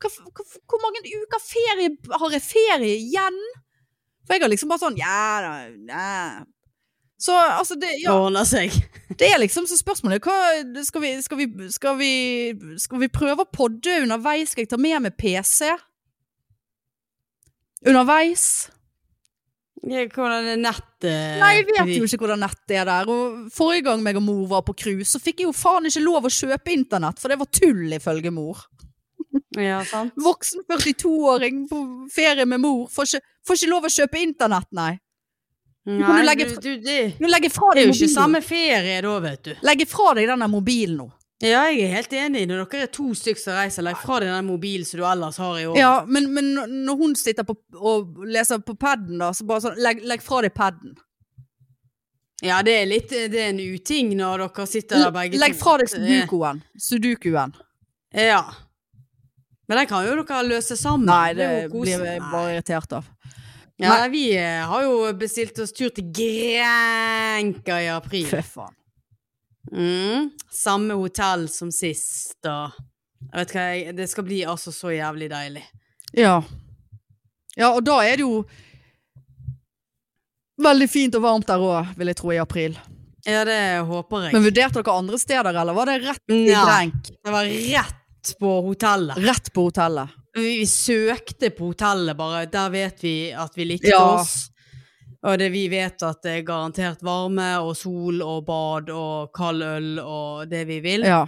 Speaker 1: Hva, f- hva, f- hvor mange uker ferie har jeg ferie igjen? For jeg har liksom bare sånn Ja da, nei. Så altså, det
Speaker 2: Det
Speaker 1: Ja.
Speaker 2: ordner seg.
Speaker 1: Det er liksom så spørsmålet hva, skal, vi, skal, vi, skal, vi, skal vi prøve å podde underveis? Skal jeg ta med meg PC? Underveis?
Speaker 2: Ja, Hvordan er eh, nettet
Speaker 1: Nei, jeg vet jo ikke hvordan nettet er der. Og forrige gang meg og mor var på cruise, så fikk jeg jo faen ikke lov å kjøpe internett, for det var tull, ifølge mor.
Speaker 2: Ja, sant?
Speaker 1: Voksen 42-åring på ferie med mor får ikke, får ikke lov å kjøpe internett, nei.
Speaker 2: Nei,
Speaker 1: kan du legge
Speaker 2: du, du, det
Speaker 1: Nå legger jeg fra
Speaker 2: det er
Speaker 1: deg
Speaker 2: jo ikke
Speaker 1: mobilen.
Speaker 2: samme ferie da, vet du.
Speaker 1: Legger fra deg denne mobilen nå.
Speaker 2: Ja, jeg er helt enig. Når dere er to stykker som reiser, legg fra deg den mobilen som du ellers har i år.
Speaker 1: Ja, men, men når- når hun sitter på, og leser på paden, da, så bare sånn Legg, legg fra deg paden.
Speaker 2: Ja, det er litt eh, Det er en uting når dere sitter der begge
Speaker 1: Legg fra deg
Speaker 2: Det-
Speaker 1: sudokuen. Sudokuen.
Speaker 2: Ja. Men den kan jo dere løse sammen.
Speaker 1: Nei, det
Speaker 2: er jo
Speaker 1: blir
Speaker 2: koselig.
Speaker 1: jeg bare irritert av.
Speaker 2: Ja, nei, vi eh, har jo bestilt oss tur til Grenka i april.
Speaker 1: Fy faen.
Speaker 2: Mm. Samme hotell som sist, da. Jeg vet hva, jeg, det skal bli altså så jævlig deilig.
Speaker 1: Ja. ja, og da er det jo Veldig fint og varmt der òg, vil jeg tro, i april.
Speaker 2: Ja, det håper jeg.
Speaker 1: Men vurderte dere andre steder, eller var det rett i
Speaker 2: Ja.
Speaker 1: drenk?
Speaker 2: det var rett på hotellet.
Speaker 1: Rett på hotellet?
Speaker 2: Vi, vi søkte på hotellet, bare. Der vet vi at vi likte
Speaker 1: Ja.
Speaker 2: oss. Og det, vi vet at det er garantert varme og sol og bad og kald øl og det vi vil.
Speaker 1: Ja.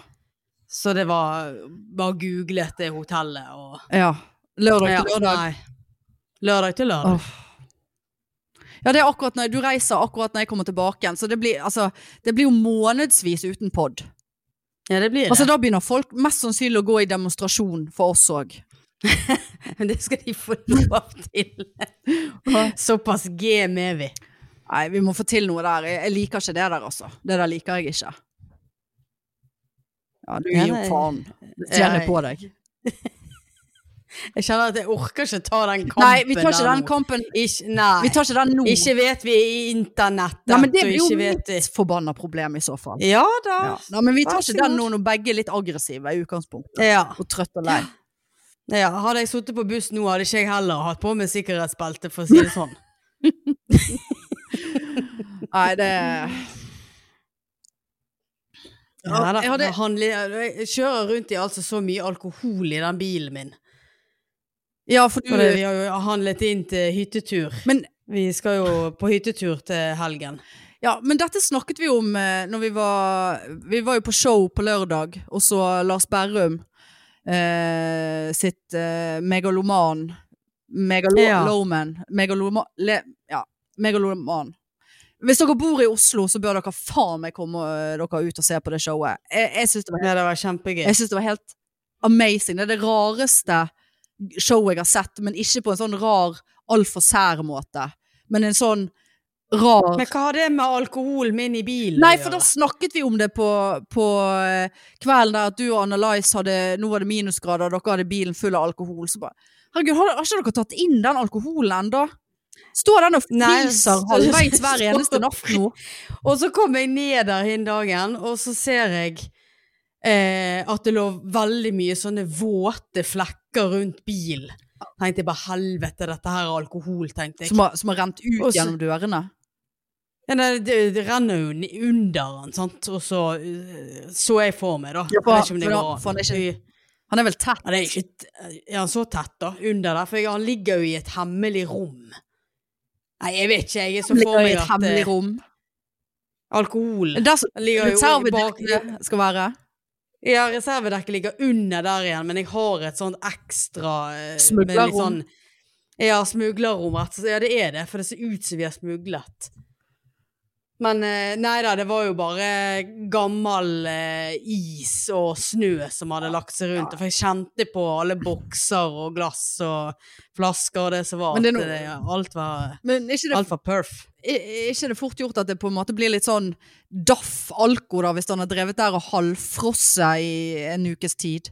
Speaker 2: Så det var bare googlet det hotellet og
Speaker 1: ja. Lørdag til
Speaker 2: Ja,
Speaker 1: lørdag.
Speaker 2: nei. Lørdag til lørdag.
Speaker 1: Åh. Ja, det er akkurat når du reiser akkurat når jeg kommer tilbake igjen, så det blir, altså, det blir jo månedsvis uten pod.
Speaker 2: Ja, det blir det.
Speaker 1: Altså, da begynner folk mest sannsynlig å gå i demonstrasjon for oss òg.
Speaker 2: Men det skal de få lov til. Såpass game er vi.
Speaker 1: Nei, vi må få til noe der. Jeg, jeg liker ikke det der, altså. Det der liker jeg ikke. Ja, du
Speaker 2: Ja,
Speaker 1: gir jo
Speaker 2: nei.
Speaker 1: faen. Det tjener jeg på deg.
Speaker 2: Jeg kjenner at jeg orker ikke ta den kampen.
Speaker 1: Nei, vi tar ikke
Speaker 2: der
Speaker 1: den
Speaker 2: nå.
Speaker 1: kampen.
Speaker 2: Ikke, nei.
Speaker 1: Vi tar ikke den nå.
Speaker 2: Ikke vet vi i internettet.
Speaker 1: Nei, men det
Speaker 2: og
Speaker 1: blir jo
Speaker 2: ikke vet vi.
Speaker 1: mitt forbanna problem i så fall.
Speaker 2: Ja da.
Speaker 1: Ja. Nei, men vi tar
Speaker 2: Vær så
Speaker 1: ikke den
Speaker 2: god.
Speaker 1: nå når begge er litt aggressive i utgangspunktet.
Speaker 2: Ja.
Speaker 1: Og trøtt og lei.
Speaker 2: ja. Hadde jeg sittet på buss nå, hadde ikke jeg heller hatt på meg sikkerhetsbelte, for å si det sånn.
Speaker 1: Nei, det
Speaker 2: Ja, da.
Speaker 1: jeg hadde-
Speaker 2: Jeg handler- jeg kjører rundt i altså så mye alkohol i den bilen min.
Speaker 1: Ja, for
Speaker 2: For det,
Speaker 1: du
Speaker 2: vi har jo handlet inn til hyttetur.
Speaker 1: Mm. men,
Speaker 2: Vi skal jo på hyttetur til helgen.
Speaker 1: ja, men dette snakket vi om eh, når vi var Vi var jo på show på lørdag, og så Lars Berrum eh, sitt eh, megaloman Megalo
Speaker 2: Ja.
Speaker 1: Lowman. Megaloma, le, ja, megaloman. Hvis dere bor i Oslo, så bør dere faen meg komme eh, dere ut og se på det showet. Jeg, jeg syns det var
Speaker 2: Ja, det var kjempegøy.
Speaker 1: Jeg synes det var helt amazing. Det er det rareste showet jeg har sett, men ikke på en sånn rar, altfor sær måte. Men en sånn rar
Speaker 2: Men hva har det med alkoholen min i bilen
Speaker 1: Nei,
Speaker 2: å
Speaker 1: for da
Speaker 2: gjøre?
Speaker 1: snakket vi om det på, på eh, kvelden der at du og Anna-Lice hadde Nå var det minusgrader, og dere hadde bilen full av alkohol. Så bare Herregud, har, har ikke dere tatt inn den alkoholen ennå? Står den og
Speaker 2: Nei,
Speaker 1: fryser
Speaker 2: det-
Speaker 1: halvveis hver
Speaker 2: står-
Speaker 1: eneste natt nå?
Speaker 2: Og så kom jeg ned der hin dagen, og så ser jeg eh, at det lå veldig mye sånne våte flekker rundt bilen. Tenkte jeg bare helvete, dette her er alkohol, tenkte jeg.
Speaker 1: Som har, som har rent ut
Speaker 2: Og så-
Speaker 1: gjennom dørene?
Speaker 2: Ja, nei, det, det renner jo ni- under den, sant, og så eh, så jeg for meg, da.
Speaker 1: Ja, for-
Speaker 2: Jeg vet ikke om det
Speaker 1: for da-
Speaker 2: går an.
Speaker 1: for han er ikke-
Speaker 2: Ja,
Speaker 1: Han er vel tett?
Speaker 2: det er ikke t- Er han så tett, da? Under der? For jeg, han ligger jo i et hemmelig rom. Nei, jeg vet ikke, jeg er så for
Speaker 1: Ligger i
Speaker 2: meg
Speaker 1: et
Speaker 2: at
Speaker 1: hemmelig
Speaker 2: eh,
Speaker 1: rom.
Speaker 2: alkohol
Speaker 1: Der som
Speaker 2: Den ligger jo i bak
Speaker 1: reservedekket skal være.
Speaker 2: Ja, reservedekket ligger under der igjen, men jeg har et sånt ekstra eh, med
Speaker 1: Smuglerrom.
Speaker 2: litt Sånn, ja, smuglerrom. rett og slett. Ja, det er det, for det ser ut som vi har smuglet. Men eh, nei da, det var jo bare gammel eh, is og snø som hadde lagt seg rundt. For jeg kjente på alle bokser og glass og flasker og det som var.
Speaker 1: Men det er
Speaker 2: at
Speaker 1: no-
Speaker 2: det, alt var
Speaker 1: Men er ikke, det,
Speaker 2: Alt var perf.
Speaker 1: er ikke det fort gjort at det på en måte blir litt sånn daff alko, da, hvis han har drevet der og halvfrosset i en ukes tid?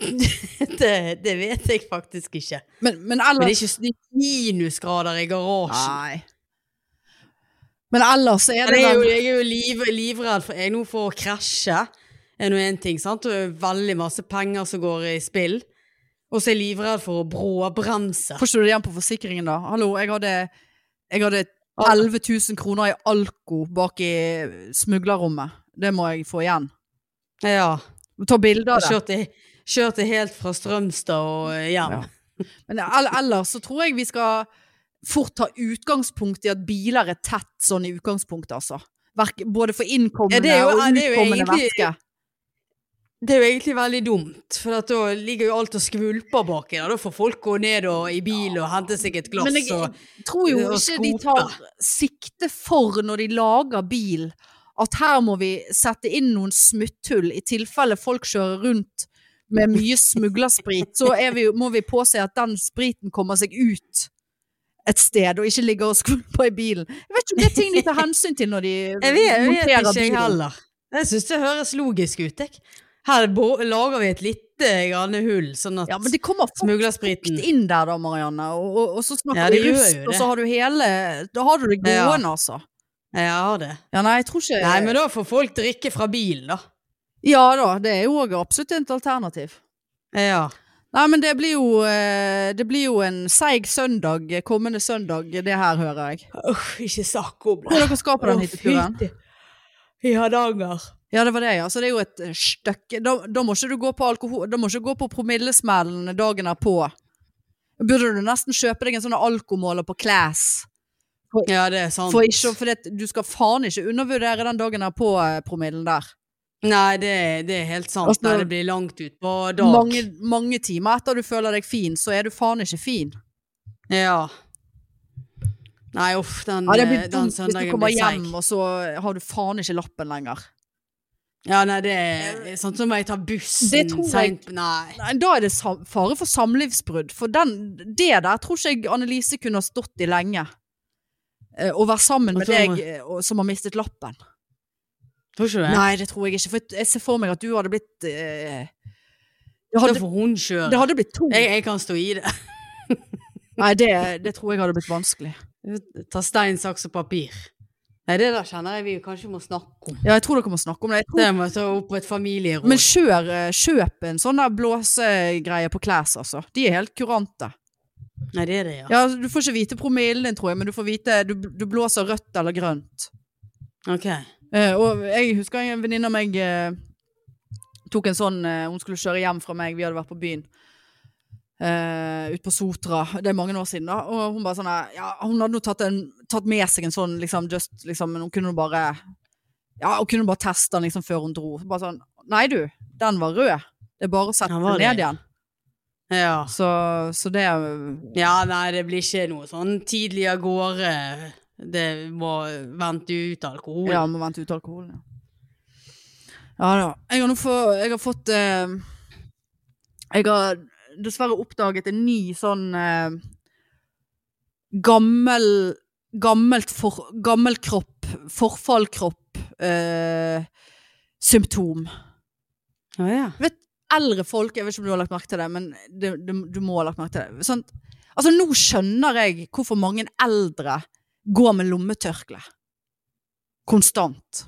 Speaker 2: det, det vet jeg faktisk ikke.
Speaker 1: Men, men
Speaker 2: Men det
Speaker 1: ellers
Speaker 2: er ikke sn- minusgrader i garasjen.
Speaker 1: Nei. Men ellers så er
Speaker 2: Ja,
Speaker 1: det
Speaker 2: det er jo,
Speaker 1: vel
Speaker 2: jeg er jo liv, livredd for jeg nå for å krasje. er nå en ting, sant? Og det er veldig masse penger som går i spill. Og så er jeg livredd for å bråbremse.
Speaker 1: Får ikke du det igjen på forsikringen, da? Hallo, jeg hadde, jeg hadde
Speaker 2: Ja.
Speaker 1: 11 000 kroner i alko bak i smuglerrommet. Det må jeg få igjen.
Speaker 2: Ja.
Speaker 1: Ta bilde av det.
Speaker 2: Kjørte, kjørte helt fra Strømstad og eh, hjem.
Speaker 1: Men el- ellers så tror jeg vi skal fort ta utgangspunkt i at biler er tett sånn i utgangspunktet, altså. Verk- Både for innkommende
Speaker 2: Ja, det er jo-
Speaker 1: og
Speaker 2: ja, det er jo
Speaker 1: utkommende
Speaker 2: egentlig-
Speaker 1: væske.
Speaker 2: Det er jo egentlig veldig dumt, for at da ligger jo alt og skvulper baki. der. Da får folk gå ned og, i bil og hente seg et glass.
Speaker 1: Men jeg,
Speaker 2: og,
Speaker 1: jeg tror jo
Speaker 2: og
Speaker 1: ikke de
Speaker 2: skope.
Speaker 1: tar sikte for når de lager bil, at her må vi sette inn noen smutthull i tilfelle folk kjører rundt med mye smuglersprit, så er vi, jo- må vi påse at den spriten kommer seg ut et sted, og ikke ligger og skvulper i bilen. Jeg vet ikke om det er ting de tar hensyn til når de
Speaker 2: jeg vet, jeg vet
Speaker 1: monterer
Speaker 2: ikke jeg
Speaker 1: bilen.
Speaker 2: heller. Jeg syns det høres logisk ut. Jeg. Her bo- lager vi et lite grann hull, sånn at
Speaker 1: Ja, men det kommer folk
Speaker 2: smuglerspriten
Speaker 1: inn der da, Marianne, og, og, og så snakker
Speaker 2: Ja,
Speaker 1: vi
Speaker 2: det gjør
Speaker 1: rusk,
Speaker 2: jo
Speaker 1: og
Speaker 2: det.
Speaker 1: så har du hele, da har du det
Speaker 2: Ja.
Speaker 1: gående, altså.
Speaker 2: Ja, jeg har det.
Speaker 1: Ja, nei, jeg tror ikke...
Speaker 2: Nei, men da får folk drikke fra bilen, da.
Speaker 1: Ja da, det er jo òg absolutt et alternativ.
Speaker 2: Ja.
Speaker 1: Nei, men det blir jo, eh, det blir jo en seig søndag, eh, kommende søndag, det her hører jeg.
Speaker 2: Uff, ikke snakk om
Speaker 1: Hvor dere skal på den hytteturen?
Speaker 2: I Hardanger.
Speaker 1: Ja, det var det, ja. Så det er jo et eh, stykke Da, da må ikke du gå på alkohol Da må ikke du gå på promillesmellen dagen derpå. Burde du nesten kjøpe deg en sånn alkomåler på Class?
Speaker 2: Ja, det er sant.
Speaker 1: For, ikke, for det, du skal faen ikke undervurdere den dagen derpå, eh, promillen der.
Speaker 2: Nei, det, er- det er helt sant.
Speaker 1: Altså,
Speaker 2: Nei, det blir langt ut på dag.
Speaker 1: Mange, mange timer etter du føler deg fin, så er du faen ikke fin.
Speaker 2: Ja. Nei, uff, den,
Speaker 1: Ja, det blir
Speaker 2: eh, den
Speaker 1: dumt hvis du
Speaker 2: søndagen
Speaker 1: kommer
Speaker 2: blir
Speaker 1: hjem,
Speaker 2: seig.
Speaker 1: og så har du faen ikke lappen lenger.
Speaker 2: Ja, nei, det er sånn som jeg tar bussen
Speaker 1: Det tror jeg-
Speaker 2: sent- Nei.
Speaker 1: Nei, da er det sam- fare for samlivsbrudd. For den, det der tror ikke jeg Annelise kunne ha stått i lenge. Eh, Å være sammen
Speaker 2: Hva
Speaker 1: med
Speaker 2: tror du?
Speaker 1: deg eh, og- som har mistet lappen.
Speaker 2: Tror ikke du det?
Speaker 1: Nei, det tror jeg ikke. For jeg ser for meg at du hadde blitt eh, det,
Speaker 2: da
Speaker 1: hadde,
Speaker 2: får hun kjøre.
Speaker 1: det hadde blitt tungt.
Speaker 2: Jeg, jeg kan stå i det.
Speaker 1: Nei, det, det tror jeg hadde blitt vanskelig.
Speaker 2: Ta stein, saks og papir. Nei, det der kjenner jeg vi kanskje må snakke om.
Speaker 1: Ja, jeg tror dere må snakke om det. Jeg tror,
Speaker 2: Det må jeg ta opp på et familieråd.
Speaker 1: men kjør, eh, kjøp en sånn der blåsegreie på Class, altså. De er helt kurante.
Speaker 2: Nei, det er det, ja.
Speaker 1: Ja, altså, du får ikke vite promillen din, tror jeg, men du får vite Du, du blåser rødt eller grønt.
Speaker 2: Ok.
Speaker 1: Eh, og jeg husker en venninne av meg eh, tok en sånn eh, Hun skulle kjøre hjem fra meg, vi hadde vært på byen. Uh, ut på Sotra, det er mange år siden da. Og hun bare sånn eh, ja, Hun hadde nå tatt, en, tatt med seg en sånn, liksom, just, liksom men Hun kunne jo bare Ja, hun kunne bare teste den liksom før hun dro. Så Bare sånn Nei, du, den var rød. Det er bare å sette den
Speaker 2: Den var
Speaker 1: ned
Speaker 2: det.
Speaker 1: igjen.
Speaker 2: Ja.
Speaker 1: Så, så det
Speaker 2: ja, nei, det blir ikke noe sånn tidlig av gårde. Det må vente ut alkohol.
Speaker 1: Ja, må vente ut alkoholen, ja. Ja da. Jeg har nå få, jeg har fått eh, Jeg har dessverre oppdaget en ny sånn eh, gammel Gammelt for, gammel kropp, forfallkropp, eh, symptom.
Speaker 2: Ja, ja.
Speaker 1: Eldre folk, jeg vet ikke om du har lagt merke til det, men det, det, du må ha lagt merke til det. Sånn, altså, nå skjønner jeg hvorfor mange eldre går med lommetørkle. Konstant.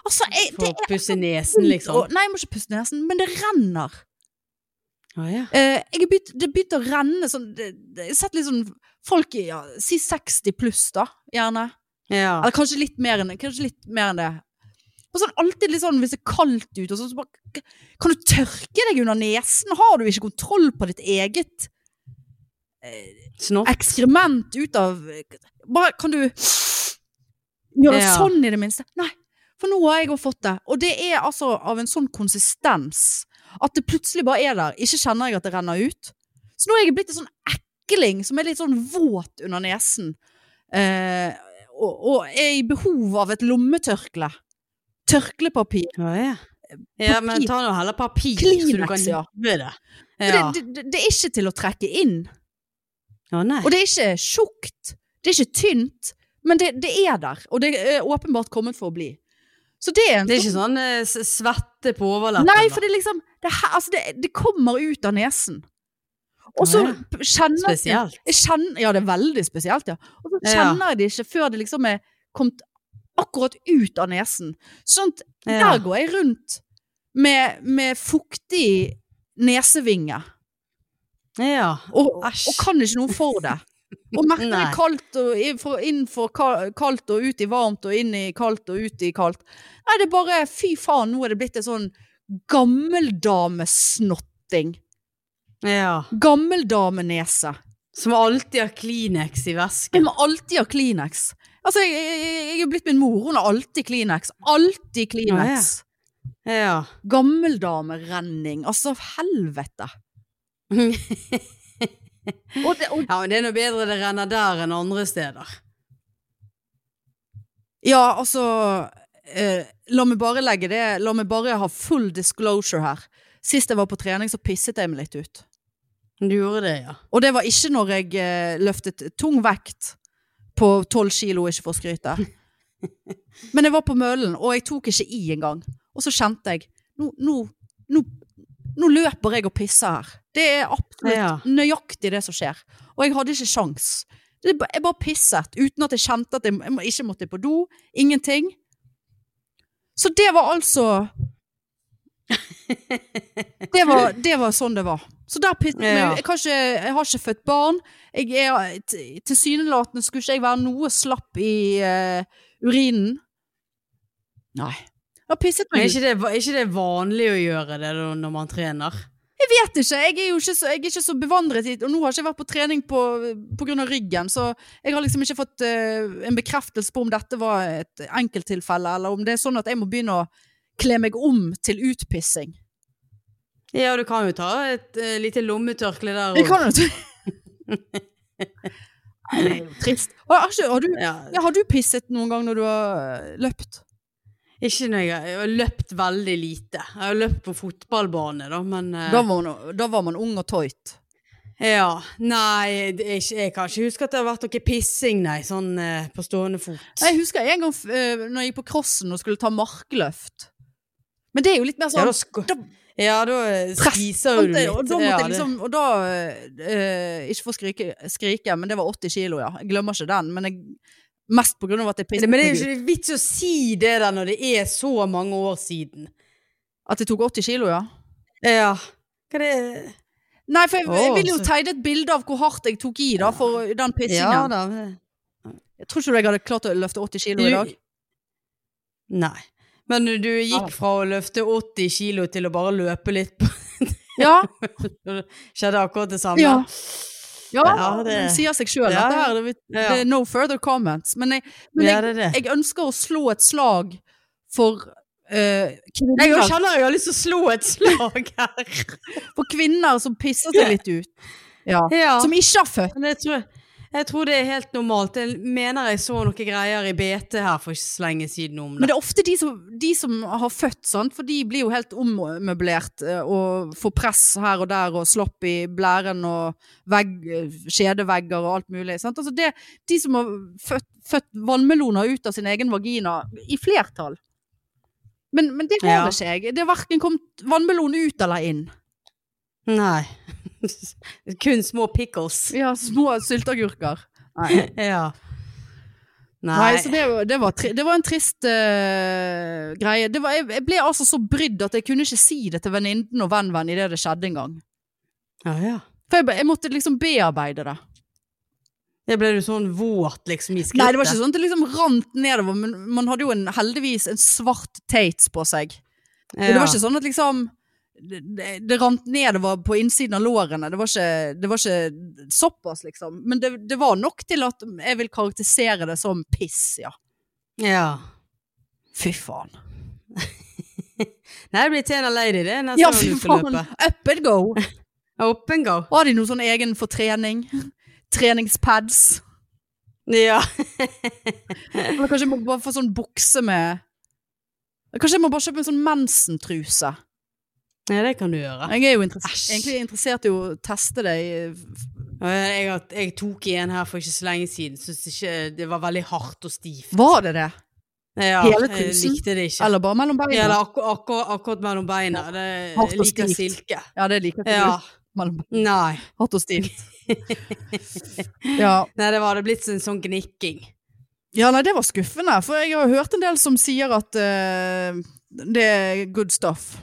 Speaker 1: Altså, jeg, det
Speaker 2: For å pusse nesen, liksom.
Speaker 1: og- Nei, jeg må ikke puste nesen, men det renner.
Speaker 2: Ja, ja.
Speaker 1: Eh, jeg har begynt, det begynte å renne sånn det, det, Jeg har sett litt sånn folk i ja, Si 60 pluss, da, gjerne.
Speaker 2: ja.
Speaker 1: Eller kanskje litt mer enn, kanskje litt mer enn det. Og sånn alltid litt sånn hvis det er kaldt ute, og sånn, så bare Kan du tørke deg under nesen? Har du ikke kontroll på ditt eget
Speaker 2: Snopp.
Speaker 1: ekskrement ut av Bare kan du gjøre
Speaker 2: Ja.
Speaker 1: sånn i det minste? Nei. For nå har jeg jo fått det. Og det er altså av en sånn konsistens at det plutselig bare er der. Ikke kjenner jeg at det renner ut. Så nå er jeg blitt en sånn ekling som er litt sånn våt under nesen. Eh, og, og er i behov av et lommetørkle. Tørklepapir.
Speaker 2: Ja, ja. ja men ta nå heller papir, så du kan
Speaker 1: Kleenex, ja.
Speaker 2: hive det.
Speaker 1: For
Speaker 2: Ja.
Speaker 1: Det, det, det er ikke til å trekke inn.
Speaker 2: ja, nei.
Speaker 1: Og det er ikke tjukt, det er ikke tynt, men det, det er der. Og det er åpenbart kommet for å bli. Så det er en
Speaker 2: Det er ikke sånn eh, s- svette på overleppen.
Speaker 1: Nei,
Speaker 2: da.
Speaker 1: for det er liksom det, her, altså det, det kommer ut av nesen. Og så
Speaker 2: Ja, ja.
Speaker 1: p- kjenner jeg,
Speaker 2: Spesielt.
Speaker 1: jeg kjenner, Ja, det er veldig spesielt, ja. Og så
Speaker 2: Ja.
Speaker 1: kjenner jeg det ikke før det liksom er kommet akkurat ut av nesen. Sånn at
Speaker 2: Ja.
Speaker 1: der går jeg rundt med, med fuktig nesevinge.
Speaker 2: Ja.
Speaker 1: Og,
Speaker 2: Æsj.
Speaker 1: og kan ikke noe for det. Og merker det
Speaker 2: Nei.
Speaker 1: kaldt og i- for- inn for ka- kaldt og ut i varmt og inn i kaldt og ut i kaldt. Nei, det er bare fy faen, nå er det blitt en sånn gammeldamesnotting.
Speaker 2: ja.
Speaker 1: Gammeldamenese.
Speaker 2: Som alltid har Kleenex i
Speaker 1: Jeg
Speaker 2: vesken.
Speaker 1: må alltid ha Kleenex. Altså, jeg, jeg, jeg er blitt min mor, hun har alltid Kleenex. Alltid Kleenex.
Speaker 2: Ja.
Speaker 1: Gammeldamerenning. Altså, helvete. Og det, og,
Speaker 2: ja, men det er nå bedre det renner der enn andre steder.
Speaker 1: ja, altså eh, La meg bare legge det La meg bare ha full disclosure her. Sist jeg var på trening, så pisset jeg meg litt ut.
Speaker 2: Du gjorde det, ja.
Speaker 1: Og det var ikke når jeg eh, løftet tung vekt på tolv kilo, ikke for å skryte. Men jeg var på møllen, og jeg tok ikke i engang. Og så kjente jeg nå, nå, nå, nå løper jeg og pisser her. Det er absolutt
Speaker 2: Ja.
Speaker 1: nøyaktig det som skjer. Og jeg hadde ikke sjans. Det, jeg bare pisset, uten at jeg kjente at jeg, jeg må- ikke måtte på do. Ingenting. Så det var altså det var, det var sånn det var. Så der pisset jeg
Speaker 2: Ja.
Speaker 1: meg ut. Jeg, kan ikke- jeg har ikke født barn. Jeg er, t- tilsynelatende skulle ikke jeg være noe slapp i eh, urinen. Nei. Jeg har pisset
Speaker 2: Men
Speaker 1: meg
Speaker 2: er
Speaker 1: ut.
Speaker 2: ikke det, er ikke det vanlig å gjøre det da, når man trener?
Speaker 1: Jeg vet ikke. Jeg er jo ikke så, jeg er ikke så bevandret i det. Og nå har jeg ikke vært på trening på, på grunn av ryggen, så jeg har liksom ikke fått eh, en bekreftelse på om dette var et enkelttilfelle, eller om det er sånn at jeg må begynne å kle meg om til utpissing.
Speaker 2: Ja, du kan jo ta et eh, lite lommetørkle der.
Speaker 1: Jeg
Speaker 2: og-
Speaker 1: kan jo ikke. Nei, Det er jo trist. Har, har, ikke- har, du,
Speaker 2: Ja,
Speaker 1: ja, har du pisset noen gang når du har øh, løpt?
Speaker 2: ikke når jeg, jeg har løpt veldig lite. Jeg har løpt på fotballbane, da, men eh,
Speaker 1: Da var man, da var man ung og tøyt.
Speaker 2: Ja. Nei, det er ikke, jeg kan ikke huske at det har vært noe pissing, nei, sånn eh, på stående fot.
Speaker 1: Jeg husker en gang f- øh, når jeg gikk på crossen og skulle ta markløft. Men det er jo litt mer
Speaker 2: ja,
Speaker 1: sånn
Speaker 2: da, sk-
Speaker 1: da-
Speaker 2: ja, da eh,
Speaker 1: press,
Speaker 2: spiser jo du
Speaker 1: sant?
Speaker 2: litt.
Speaker 1: Og da måtte
Speaker 2: ja,
Speaker 1: jeg liksom Og da øh, Ikke for å skrike, skrike, men det var 80 kilo, ja. Jeg glemmer ikke den. Men jeg, mest på grunn av at jeg
Speaker 2: det,
Speaker 1: pisset
Speaker 2: men det
Speaker 1: meg
Speaker 2: er jo
Speaker 1: ut.
Speaker 2: ikke vits å si det der når det er så mange år siden.
Speaker 1: At jeg tok 80 kilo, ja.
Speaker 2: Ja. Hva det
Speaker 1: Nei, for jeg, jeg
Speaker 2: Å,
Speaker 1: ville jo
Speaker 2: så-
Speaker 1: tegne et bilde av hvor hardt jeg tok i da, for den pissingen.
Speaker 2: da.
Speaker 1: Jeg tror ikke jeg hadde klart å løfte 80 kilo
Speaker 2: Du-
Speaker 1: i dag.
Speaker 2: Nei. Men du
Speaker 1: Ah.
Speaker 2: gikk fra å løfte 80 kilo til å bare løpe litt på
Speaker 1: Ja,
Speaker 2: Skjedde akkurat det samme.
Speaker 1: Ja. ja,
Speaker 2: Ja,
Speaker 1: det
Speaker 2: det-
Speaker 1: sier seg sjøl.
Speaker 2: Ja,
Speaker 1: at det, her, det,
Speaker 2: ja.
Speaker 1: det er no further comments. Men jeg, men
Speaker 2: ja,
Speaker 1: jeg,
Speaker 2: det er det.
Speaker 1: jeg ønsker å slå et slag for eh,
Speaker 2: Nei, jeg
Speaker 1: kvinner,
Speaker 2: kjenner jeg har lyst til å slå et slag her.
Speaker 1: for kvinner som pisser seg litt ut. Ja.
Speaker 2: Ja.
Speaker 1: Som ikke har født.
Speaker 2: Men jeg tror, jeg tror det er helt normalt. Jeg mener jeg så noen greier i BT her for ikke så lenge siden om
Speaker 1: Men
Speaker 2: det.
Speaker 1: det er ofte de som, de som har født, sant? for de blir jo helt ommøblert eh, og får press her og der og slopp i blæren og vegg, eh, skjedevegger og alt mulig. Sant? Altså det, de som har født, født vannmeloner ut av sin egen vagina, i flertall. Men, men det har
Speaker 2: Ja.
Speaker 1: ikke jeg. Det har verken kommet vannmelon ut eller inn.
Speaker 2: Nei. Kun små pickles.
Speaker 1: Ja, små sylteagurker. Nei.
Speaker 2: Ja. Nei.
Speaker 1: Nei, så det, var- det, var tri det var en trist eh, greie. Det var, jeg, jeg ble altså så brydd at jeg kunne ikke si det til venninnen og venn-venn idet det skjedde en gang.
Speaker 2: Ja, ja.
Speaker 1: For jeg, ba- jeg måtte liksom bearbeide det.
Speaker 2: Det ble du sånn våt liksom i skrittet.
Speaker 1: Nei, det var ikke sånn at det liksom rant nedover, men man hadde jo en, heldigvis en svart Tates på seg. Og Det var ikke sånn at liksom det, det- det rant nedover på innsiden av lårene. Det var ikke, det var ikke såpass, liksom. Men det, det var nok til at jeg vil karakterisere det som piss, ja.
Speaker 2: Ja.
Speaker 1: Fy faen.
Speaker 2: Nei, det blir Tena Lady det neste
Speaker 1: Ja,
Speaker 2: gang
Speaker 1: fy
Speaker 2: du skal
Speaker 1: faen.
Speaker 2: løpe.
Speaker 1: Up and go.
Speaker 2: Opp and go.
Speaker 1: Har de noe sånn egen for trening? Treningspads?
Speaker 2: Ja.
Speaker 1: Eller kanskje jeg må bare få sånn bukse med Kanskje jeg må bare kjøpe en sånn mensentruse.
Speaker 2: ja, det kan du gjøre.
Speaker 1: Jeg er jo interessert,
Speaker 2: Ah. Æsj.
Speaker 1: egentlig interessert i å teste det. i-
Speaker 2: Ja, Jeg, har- jeg tok i en her for ikke så lenge siden. Syns ikke det var veldig hardt og stivt.
Speaker 1: Var det det?
Speaker 2: Ja,
Speaker 1: Hele
Speaker 2: jeg
Speaker 1: trusen?
Speaker 2: likte det ikke.
Speaker 1: Eller bare mellom beina?
Speaker 2: Ja, eller akkur, akkur, akkurat mellom beina. Det
Speaker 1: Hardt og
Speaker 2: jeg liker
Speaker 1: stivt.
Speaker 2: silke.
Speaker 1: Ja, det liker jeg
Speaker 2: Ja.
Speaker 1: ikke. Mellom beina.
Speaker 2: Nei.
Speaker 1: Hardt og stivt. Ja.
Speaker 2: Nei, det var det blitt en sånn gnikking.
Speaker 1: ja, nei, det var skuffende. For jeg har hørt en del som sier at eh, det er good stuff.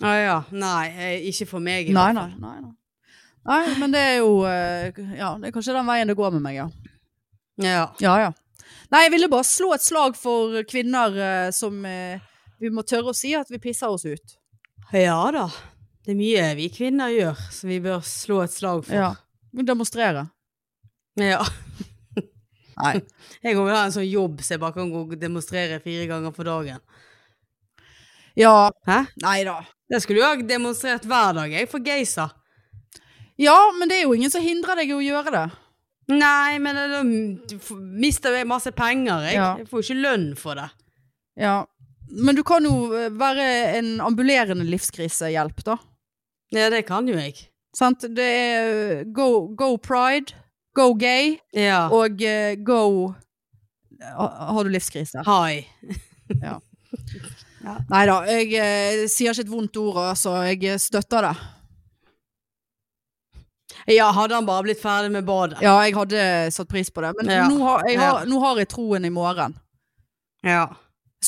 Speaker 2: Å ja. Nei, eh, ikke for meg.
Speaker 1: Nei, nei, nei, nei. Nei, men det er jo eh, Ja, det er kanskje den veien det går med meg, ja.
Speaker 2: Ja.
Speaker 1: Ja, ja. Nei, jeg ville bare slå et slag for kvinner eh, som eh, vi må tørre å si at vi pisser oss ut.
Speaker 2: ja da. Det er mye vi kvinner gjør som vi bør slå et slag for.
Speaker 1: Ja. Demonstrere.
Speaker 2: Ja.
Speaker 1: Nei.
Speaker 2: Jeg kommer til å ha en sånn jobb så jeg bare kan gå og demonstrere fire ganger for dagen.
Speaker 1: Ja,
Speaker 2: Hæ?
Speaker 1: nei da.
Speaker 2: Det skulle jo ha demonstrert hver dag, jeg, for geisa.
Speaker 1: Ja, men det er jo ingen som hindrer deg i å gjøre det.
Speaker 2: Nei, men da f- mister jeg masse penger, jeg.
Speaker 1: Ja.
Speaker 2: Jeg får jo ikke lønn for det.
Speaker 1: Ja. Men du kan jo eh, være en ambulerende livskrisehjelp, da.
Speaker 2: Ja, det kan jo jeg.
Speaker 1: Sant? Det er eh, go, go pride, go gay
Speaker 2: Ja.
Speaker 1: og eh, go Ha- Har du livskrise?
Speaker 2: Hai.
Speaker 1: Nei da, jeg eh, sier ikke et vondt ord, altså. Jeg støtter det.
Speaker 2: Ja, hadde han bare blitt ferdig med badet.
Speaker 1: Ja, jeg hadde satt pris på det. Men
Speaker 2: Ja.
Speaker 1: nå, har, jeg har,
Speaker 2: Ja.
Speaker 1: nå har jeg troen i morgen.
Speaker 2: Ja.
Speaker 1: Jeg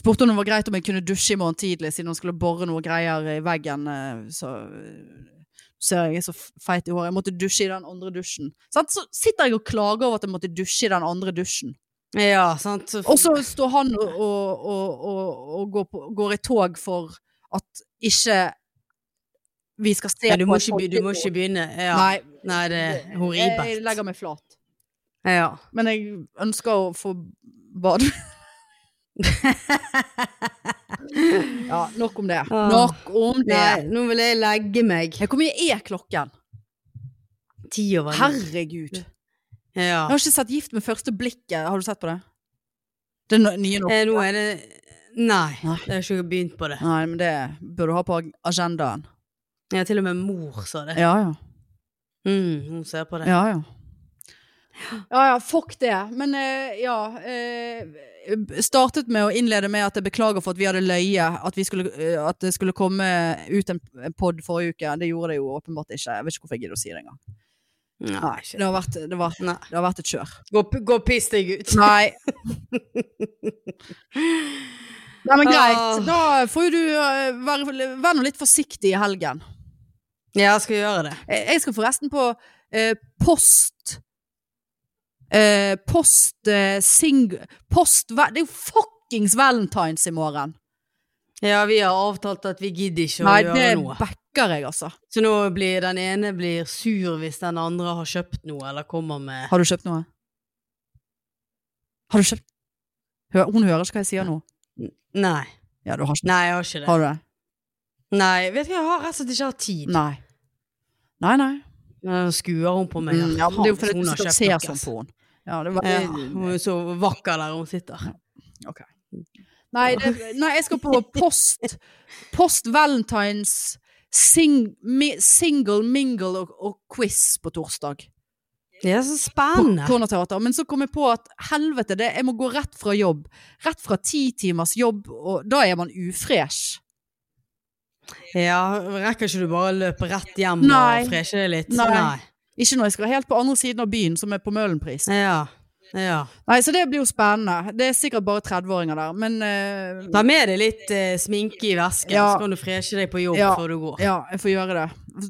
Speaker 1: Spurte om det var greit om jeg kunne dusje i morgen tidlig, siden hun skulle bore noe greier i veggen. eh, Så eh, ser jeg jeg er så f- feit i håret. Jeg måtte dusje i den andre dusjen. Sant? Så sitter jeg og klager over at jeg måtte dusje i den andre dusjen.
Speaker 2: Ja, sant. Så,
Speaker 1: Og så står han og, og, og, og, og går, på, går i tog for at ikke vi skal se
Speaker 2: ja, du, må
Speaker 1: et
Speaker 2: ikke, be- du må ikke begynne. Ja. Nei.
Speaker 1: Nei,
Speaker 2: det er
Speaker 1: jeg, jeg
Speaker 2: horribelt.
Speaker 1: legger meg flat.
Speaker 2: Ja.
Speaker 1: Men jeg ønsker å få bad. ja, nok om det.
Speaker 2: Ah.
Speaker 1: Nok om
Speaker 2: Nei,
Speaker 1: det.
Speaker 2: nå vil jeg legge meg.
Speaker 1: Hvor mye er klokken?
Speaker 2: Ti over ni.
Speaker 1: Herregud. Jeg
Speaker 2: Ja.
Speaker 1: har ikke sett Gift med første blikket. Har du sett på det? Det er no- nye nå.
Speaker 2: Eh, nå er det Nei,
Speaker 1: Nei.
Speaker 2: jeg har ikke begynt på det.
Speaker 1: Nei, men det bør du ha på ag- agendaen.
Speaker 2: Ja, til og med mor sa det.
Speaker 1: Ja, ja.
Speaker 2: Mm, hun ser på det.
Speaker 1: Ja, ja. Ja, ja, fuck det. Men eh, ja eh, Startet med å innlede med at jeg beklager for at vi hadde løye. At, vi skulle, eh, at det skulle komme ut en pod forrige uke. Det gjorde det jo åpenbart ikke. Jeg vet ikke hvorfor jeg gidder å si det engang.
Speaker 2: Nei,
Speaker 1: Det har vært, det var,
Speaker 2: Nei.
Speaker 1: det har vært et kjør.
Speaker 2: Gå, gå og piss deg ut.
Speaker 1: Nei. Nei, men greit.
Speaker 2: Åh.
Speaker 1: Da får jo du eh, være, være nå litt forsiktig i helgen.
Speaker 2: Ja, jeg skal gjøre det.
Speaker 1: Jeg jeg skal forresten på eh, post eh, Post eh, sing... Post va- Det er jo fuckings valentines i morgen!
Speaker 2: Ja, vi har avtalt at vi gidder ikke å
Speaker 1: Nei, det
Speaker 2: gjøre noe.
Speaker 1: backer jeg, altså.
Speaker 2: Så nå blir den ene blir sur hvis den andre har kjøpt noe eller kommer med
Speaker 1: Har du kjøpt noe? Har du kjøpt Hø- Hun hører ikke hva jeg sier nå.
Speaker 2: Nei.
Speaker 1: Ja, du har ikke
Speaker 2: Nei, jeg har ikke det.
Speaker 1: Har du det?
Speaker 2: Nei, vet du, jeg har rett og slett ikke hatt tid.
Speaker 1: Nei. Nei, nei.
Speaker 2: Nå skuer hun på meg.
Speaker 1: Mm, ja, men det er jo fordi
Speaker 2: Faen,
Speaker 1: du
Speaker 2: hun har
Speaker 1: sitter og
Speaker 2: kjøpt
Speaker 1: ser
Speaker 2: noe,
Speaker 1: sånn
Speaker 2: ass.
Speaker 1: på henne. Ja, det var,
Speaker 2: Ja, hun er så vakker der hun sitter.
Speaker 1: Nei, det, nei, jeg skal på post Post Valentines sing, mi, Single, mingle og, og quiz på torsdag
Speaker 2: Det er så
Speaker 1: På
Speaker 2: spennende.
Speaker 1: Cornerteater Men så kom jeg på at helvete det, Jeg må gå rett fra jobb Rett fra ti timers jobb Og da er man ufresh
Speaker 2: Ja, rekker ikke du bare å løpe rett hjem
Speaker 1: Nei.
Speaker 2: og freshe deg litt?
Speaker 1: Nei. Ikke når jeg skal helt på andre siden av byen Som er på Møhlenpris
Speaker 2: Nei. Ja. ja.
Speaker 1: Nei, så det blir jo spennende Det er sikkert bare 30-åringer der Men eh,
Speaker 2: Ta med deg litt eh, sminke i vesken,
Speaker 1: Ja.
Speaker 2: så kan du freshe deg på jobb
Speaker 1: Ja.
Speaker 2: før du går.
Speaker 1: ja, jeg får gjøre det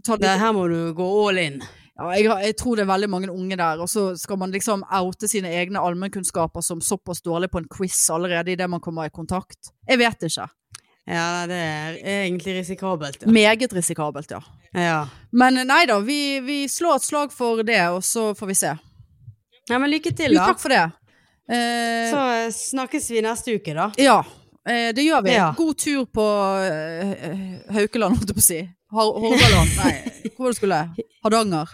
Speaker 1: Ta
Speaker 2: Det,
Speaker 1: litt
Speaker 2: her må du gå all in.
Speaker 1: Ja, jeg, har- jeg tror det er veldig mange unge der, og så skal man liksom oute sine egne allmennkunnskaper som såpass dårlig på en quiz allerede idet man kommer i kontakt. Jeg vet ikke.
Speaker 2: Ja, nei, det er egentlig risikabelt. Ja.
Speaker 1: Meget risikabelt, ja.
Speaker 2: ja.
Speaker 1: Men eh, nei da, vi, vi slår et slag for det, og så får vi se.
Speaker 2: Nei, men lykke til,
Speaker 1: Jo,
Speaker 2: da.
Speaker 1: takk for det. Eh,
Speaker 2: Så eh, snakkes vi neste uke, da.
Speaker 1: ja, eh, det gjør vi.
Speaker 2: Ja.
Speaker 1: God tur på eh, eh, Haukeland, holdt jeg på å si. Har- Hordaland, nei, hvor var det skulle? Hardanger.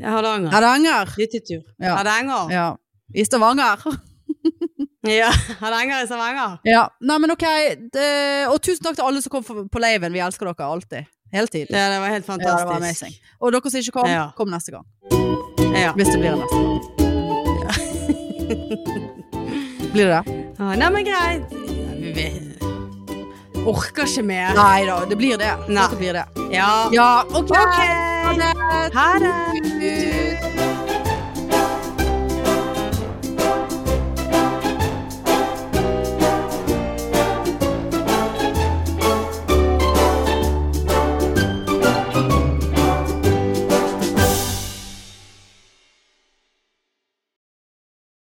Speaker 2: Hardanger.
Speaker 1: Hardanger!
Speaker 2: Hyttetur.
Speaker 1: Ja.
Speaker 2: Hardanger.
Speaker 1: Ja. I Stavanger.
Speaker 2: Ja, Hardanger i Stavanger.
Speaker 1: Ja, nei, men ok det, Og tusen takk til alle som kom for- på leiven Vi elsker dere alltid, hele tiden
Speaker 2: Ja, det var helt
Speaker 1: Ja, det var
Speaker 2: fantastisk.
Speaker 1: amazing Og dere som ikke kom,
Speaker 2: Ja.
Speaker 1: kom neste gang
Speaker 2: Ja.
Speaker 1: Hvis det blir det neste gang Blir det det?
Speaker 2: Ah, Nei, men greit. Ja, vi vet- Orker ikke mer.
Speaker 1: Nei da, det blir det
Speaker 2: Nei.
Speaker 1: Dette blir det
Speaker 2: Ja.
Speaker 1: Ja, ok
Speaker 2: Ok.
Speaker 1: Ha det.
Speaker 2: Ha det.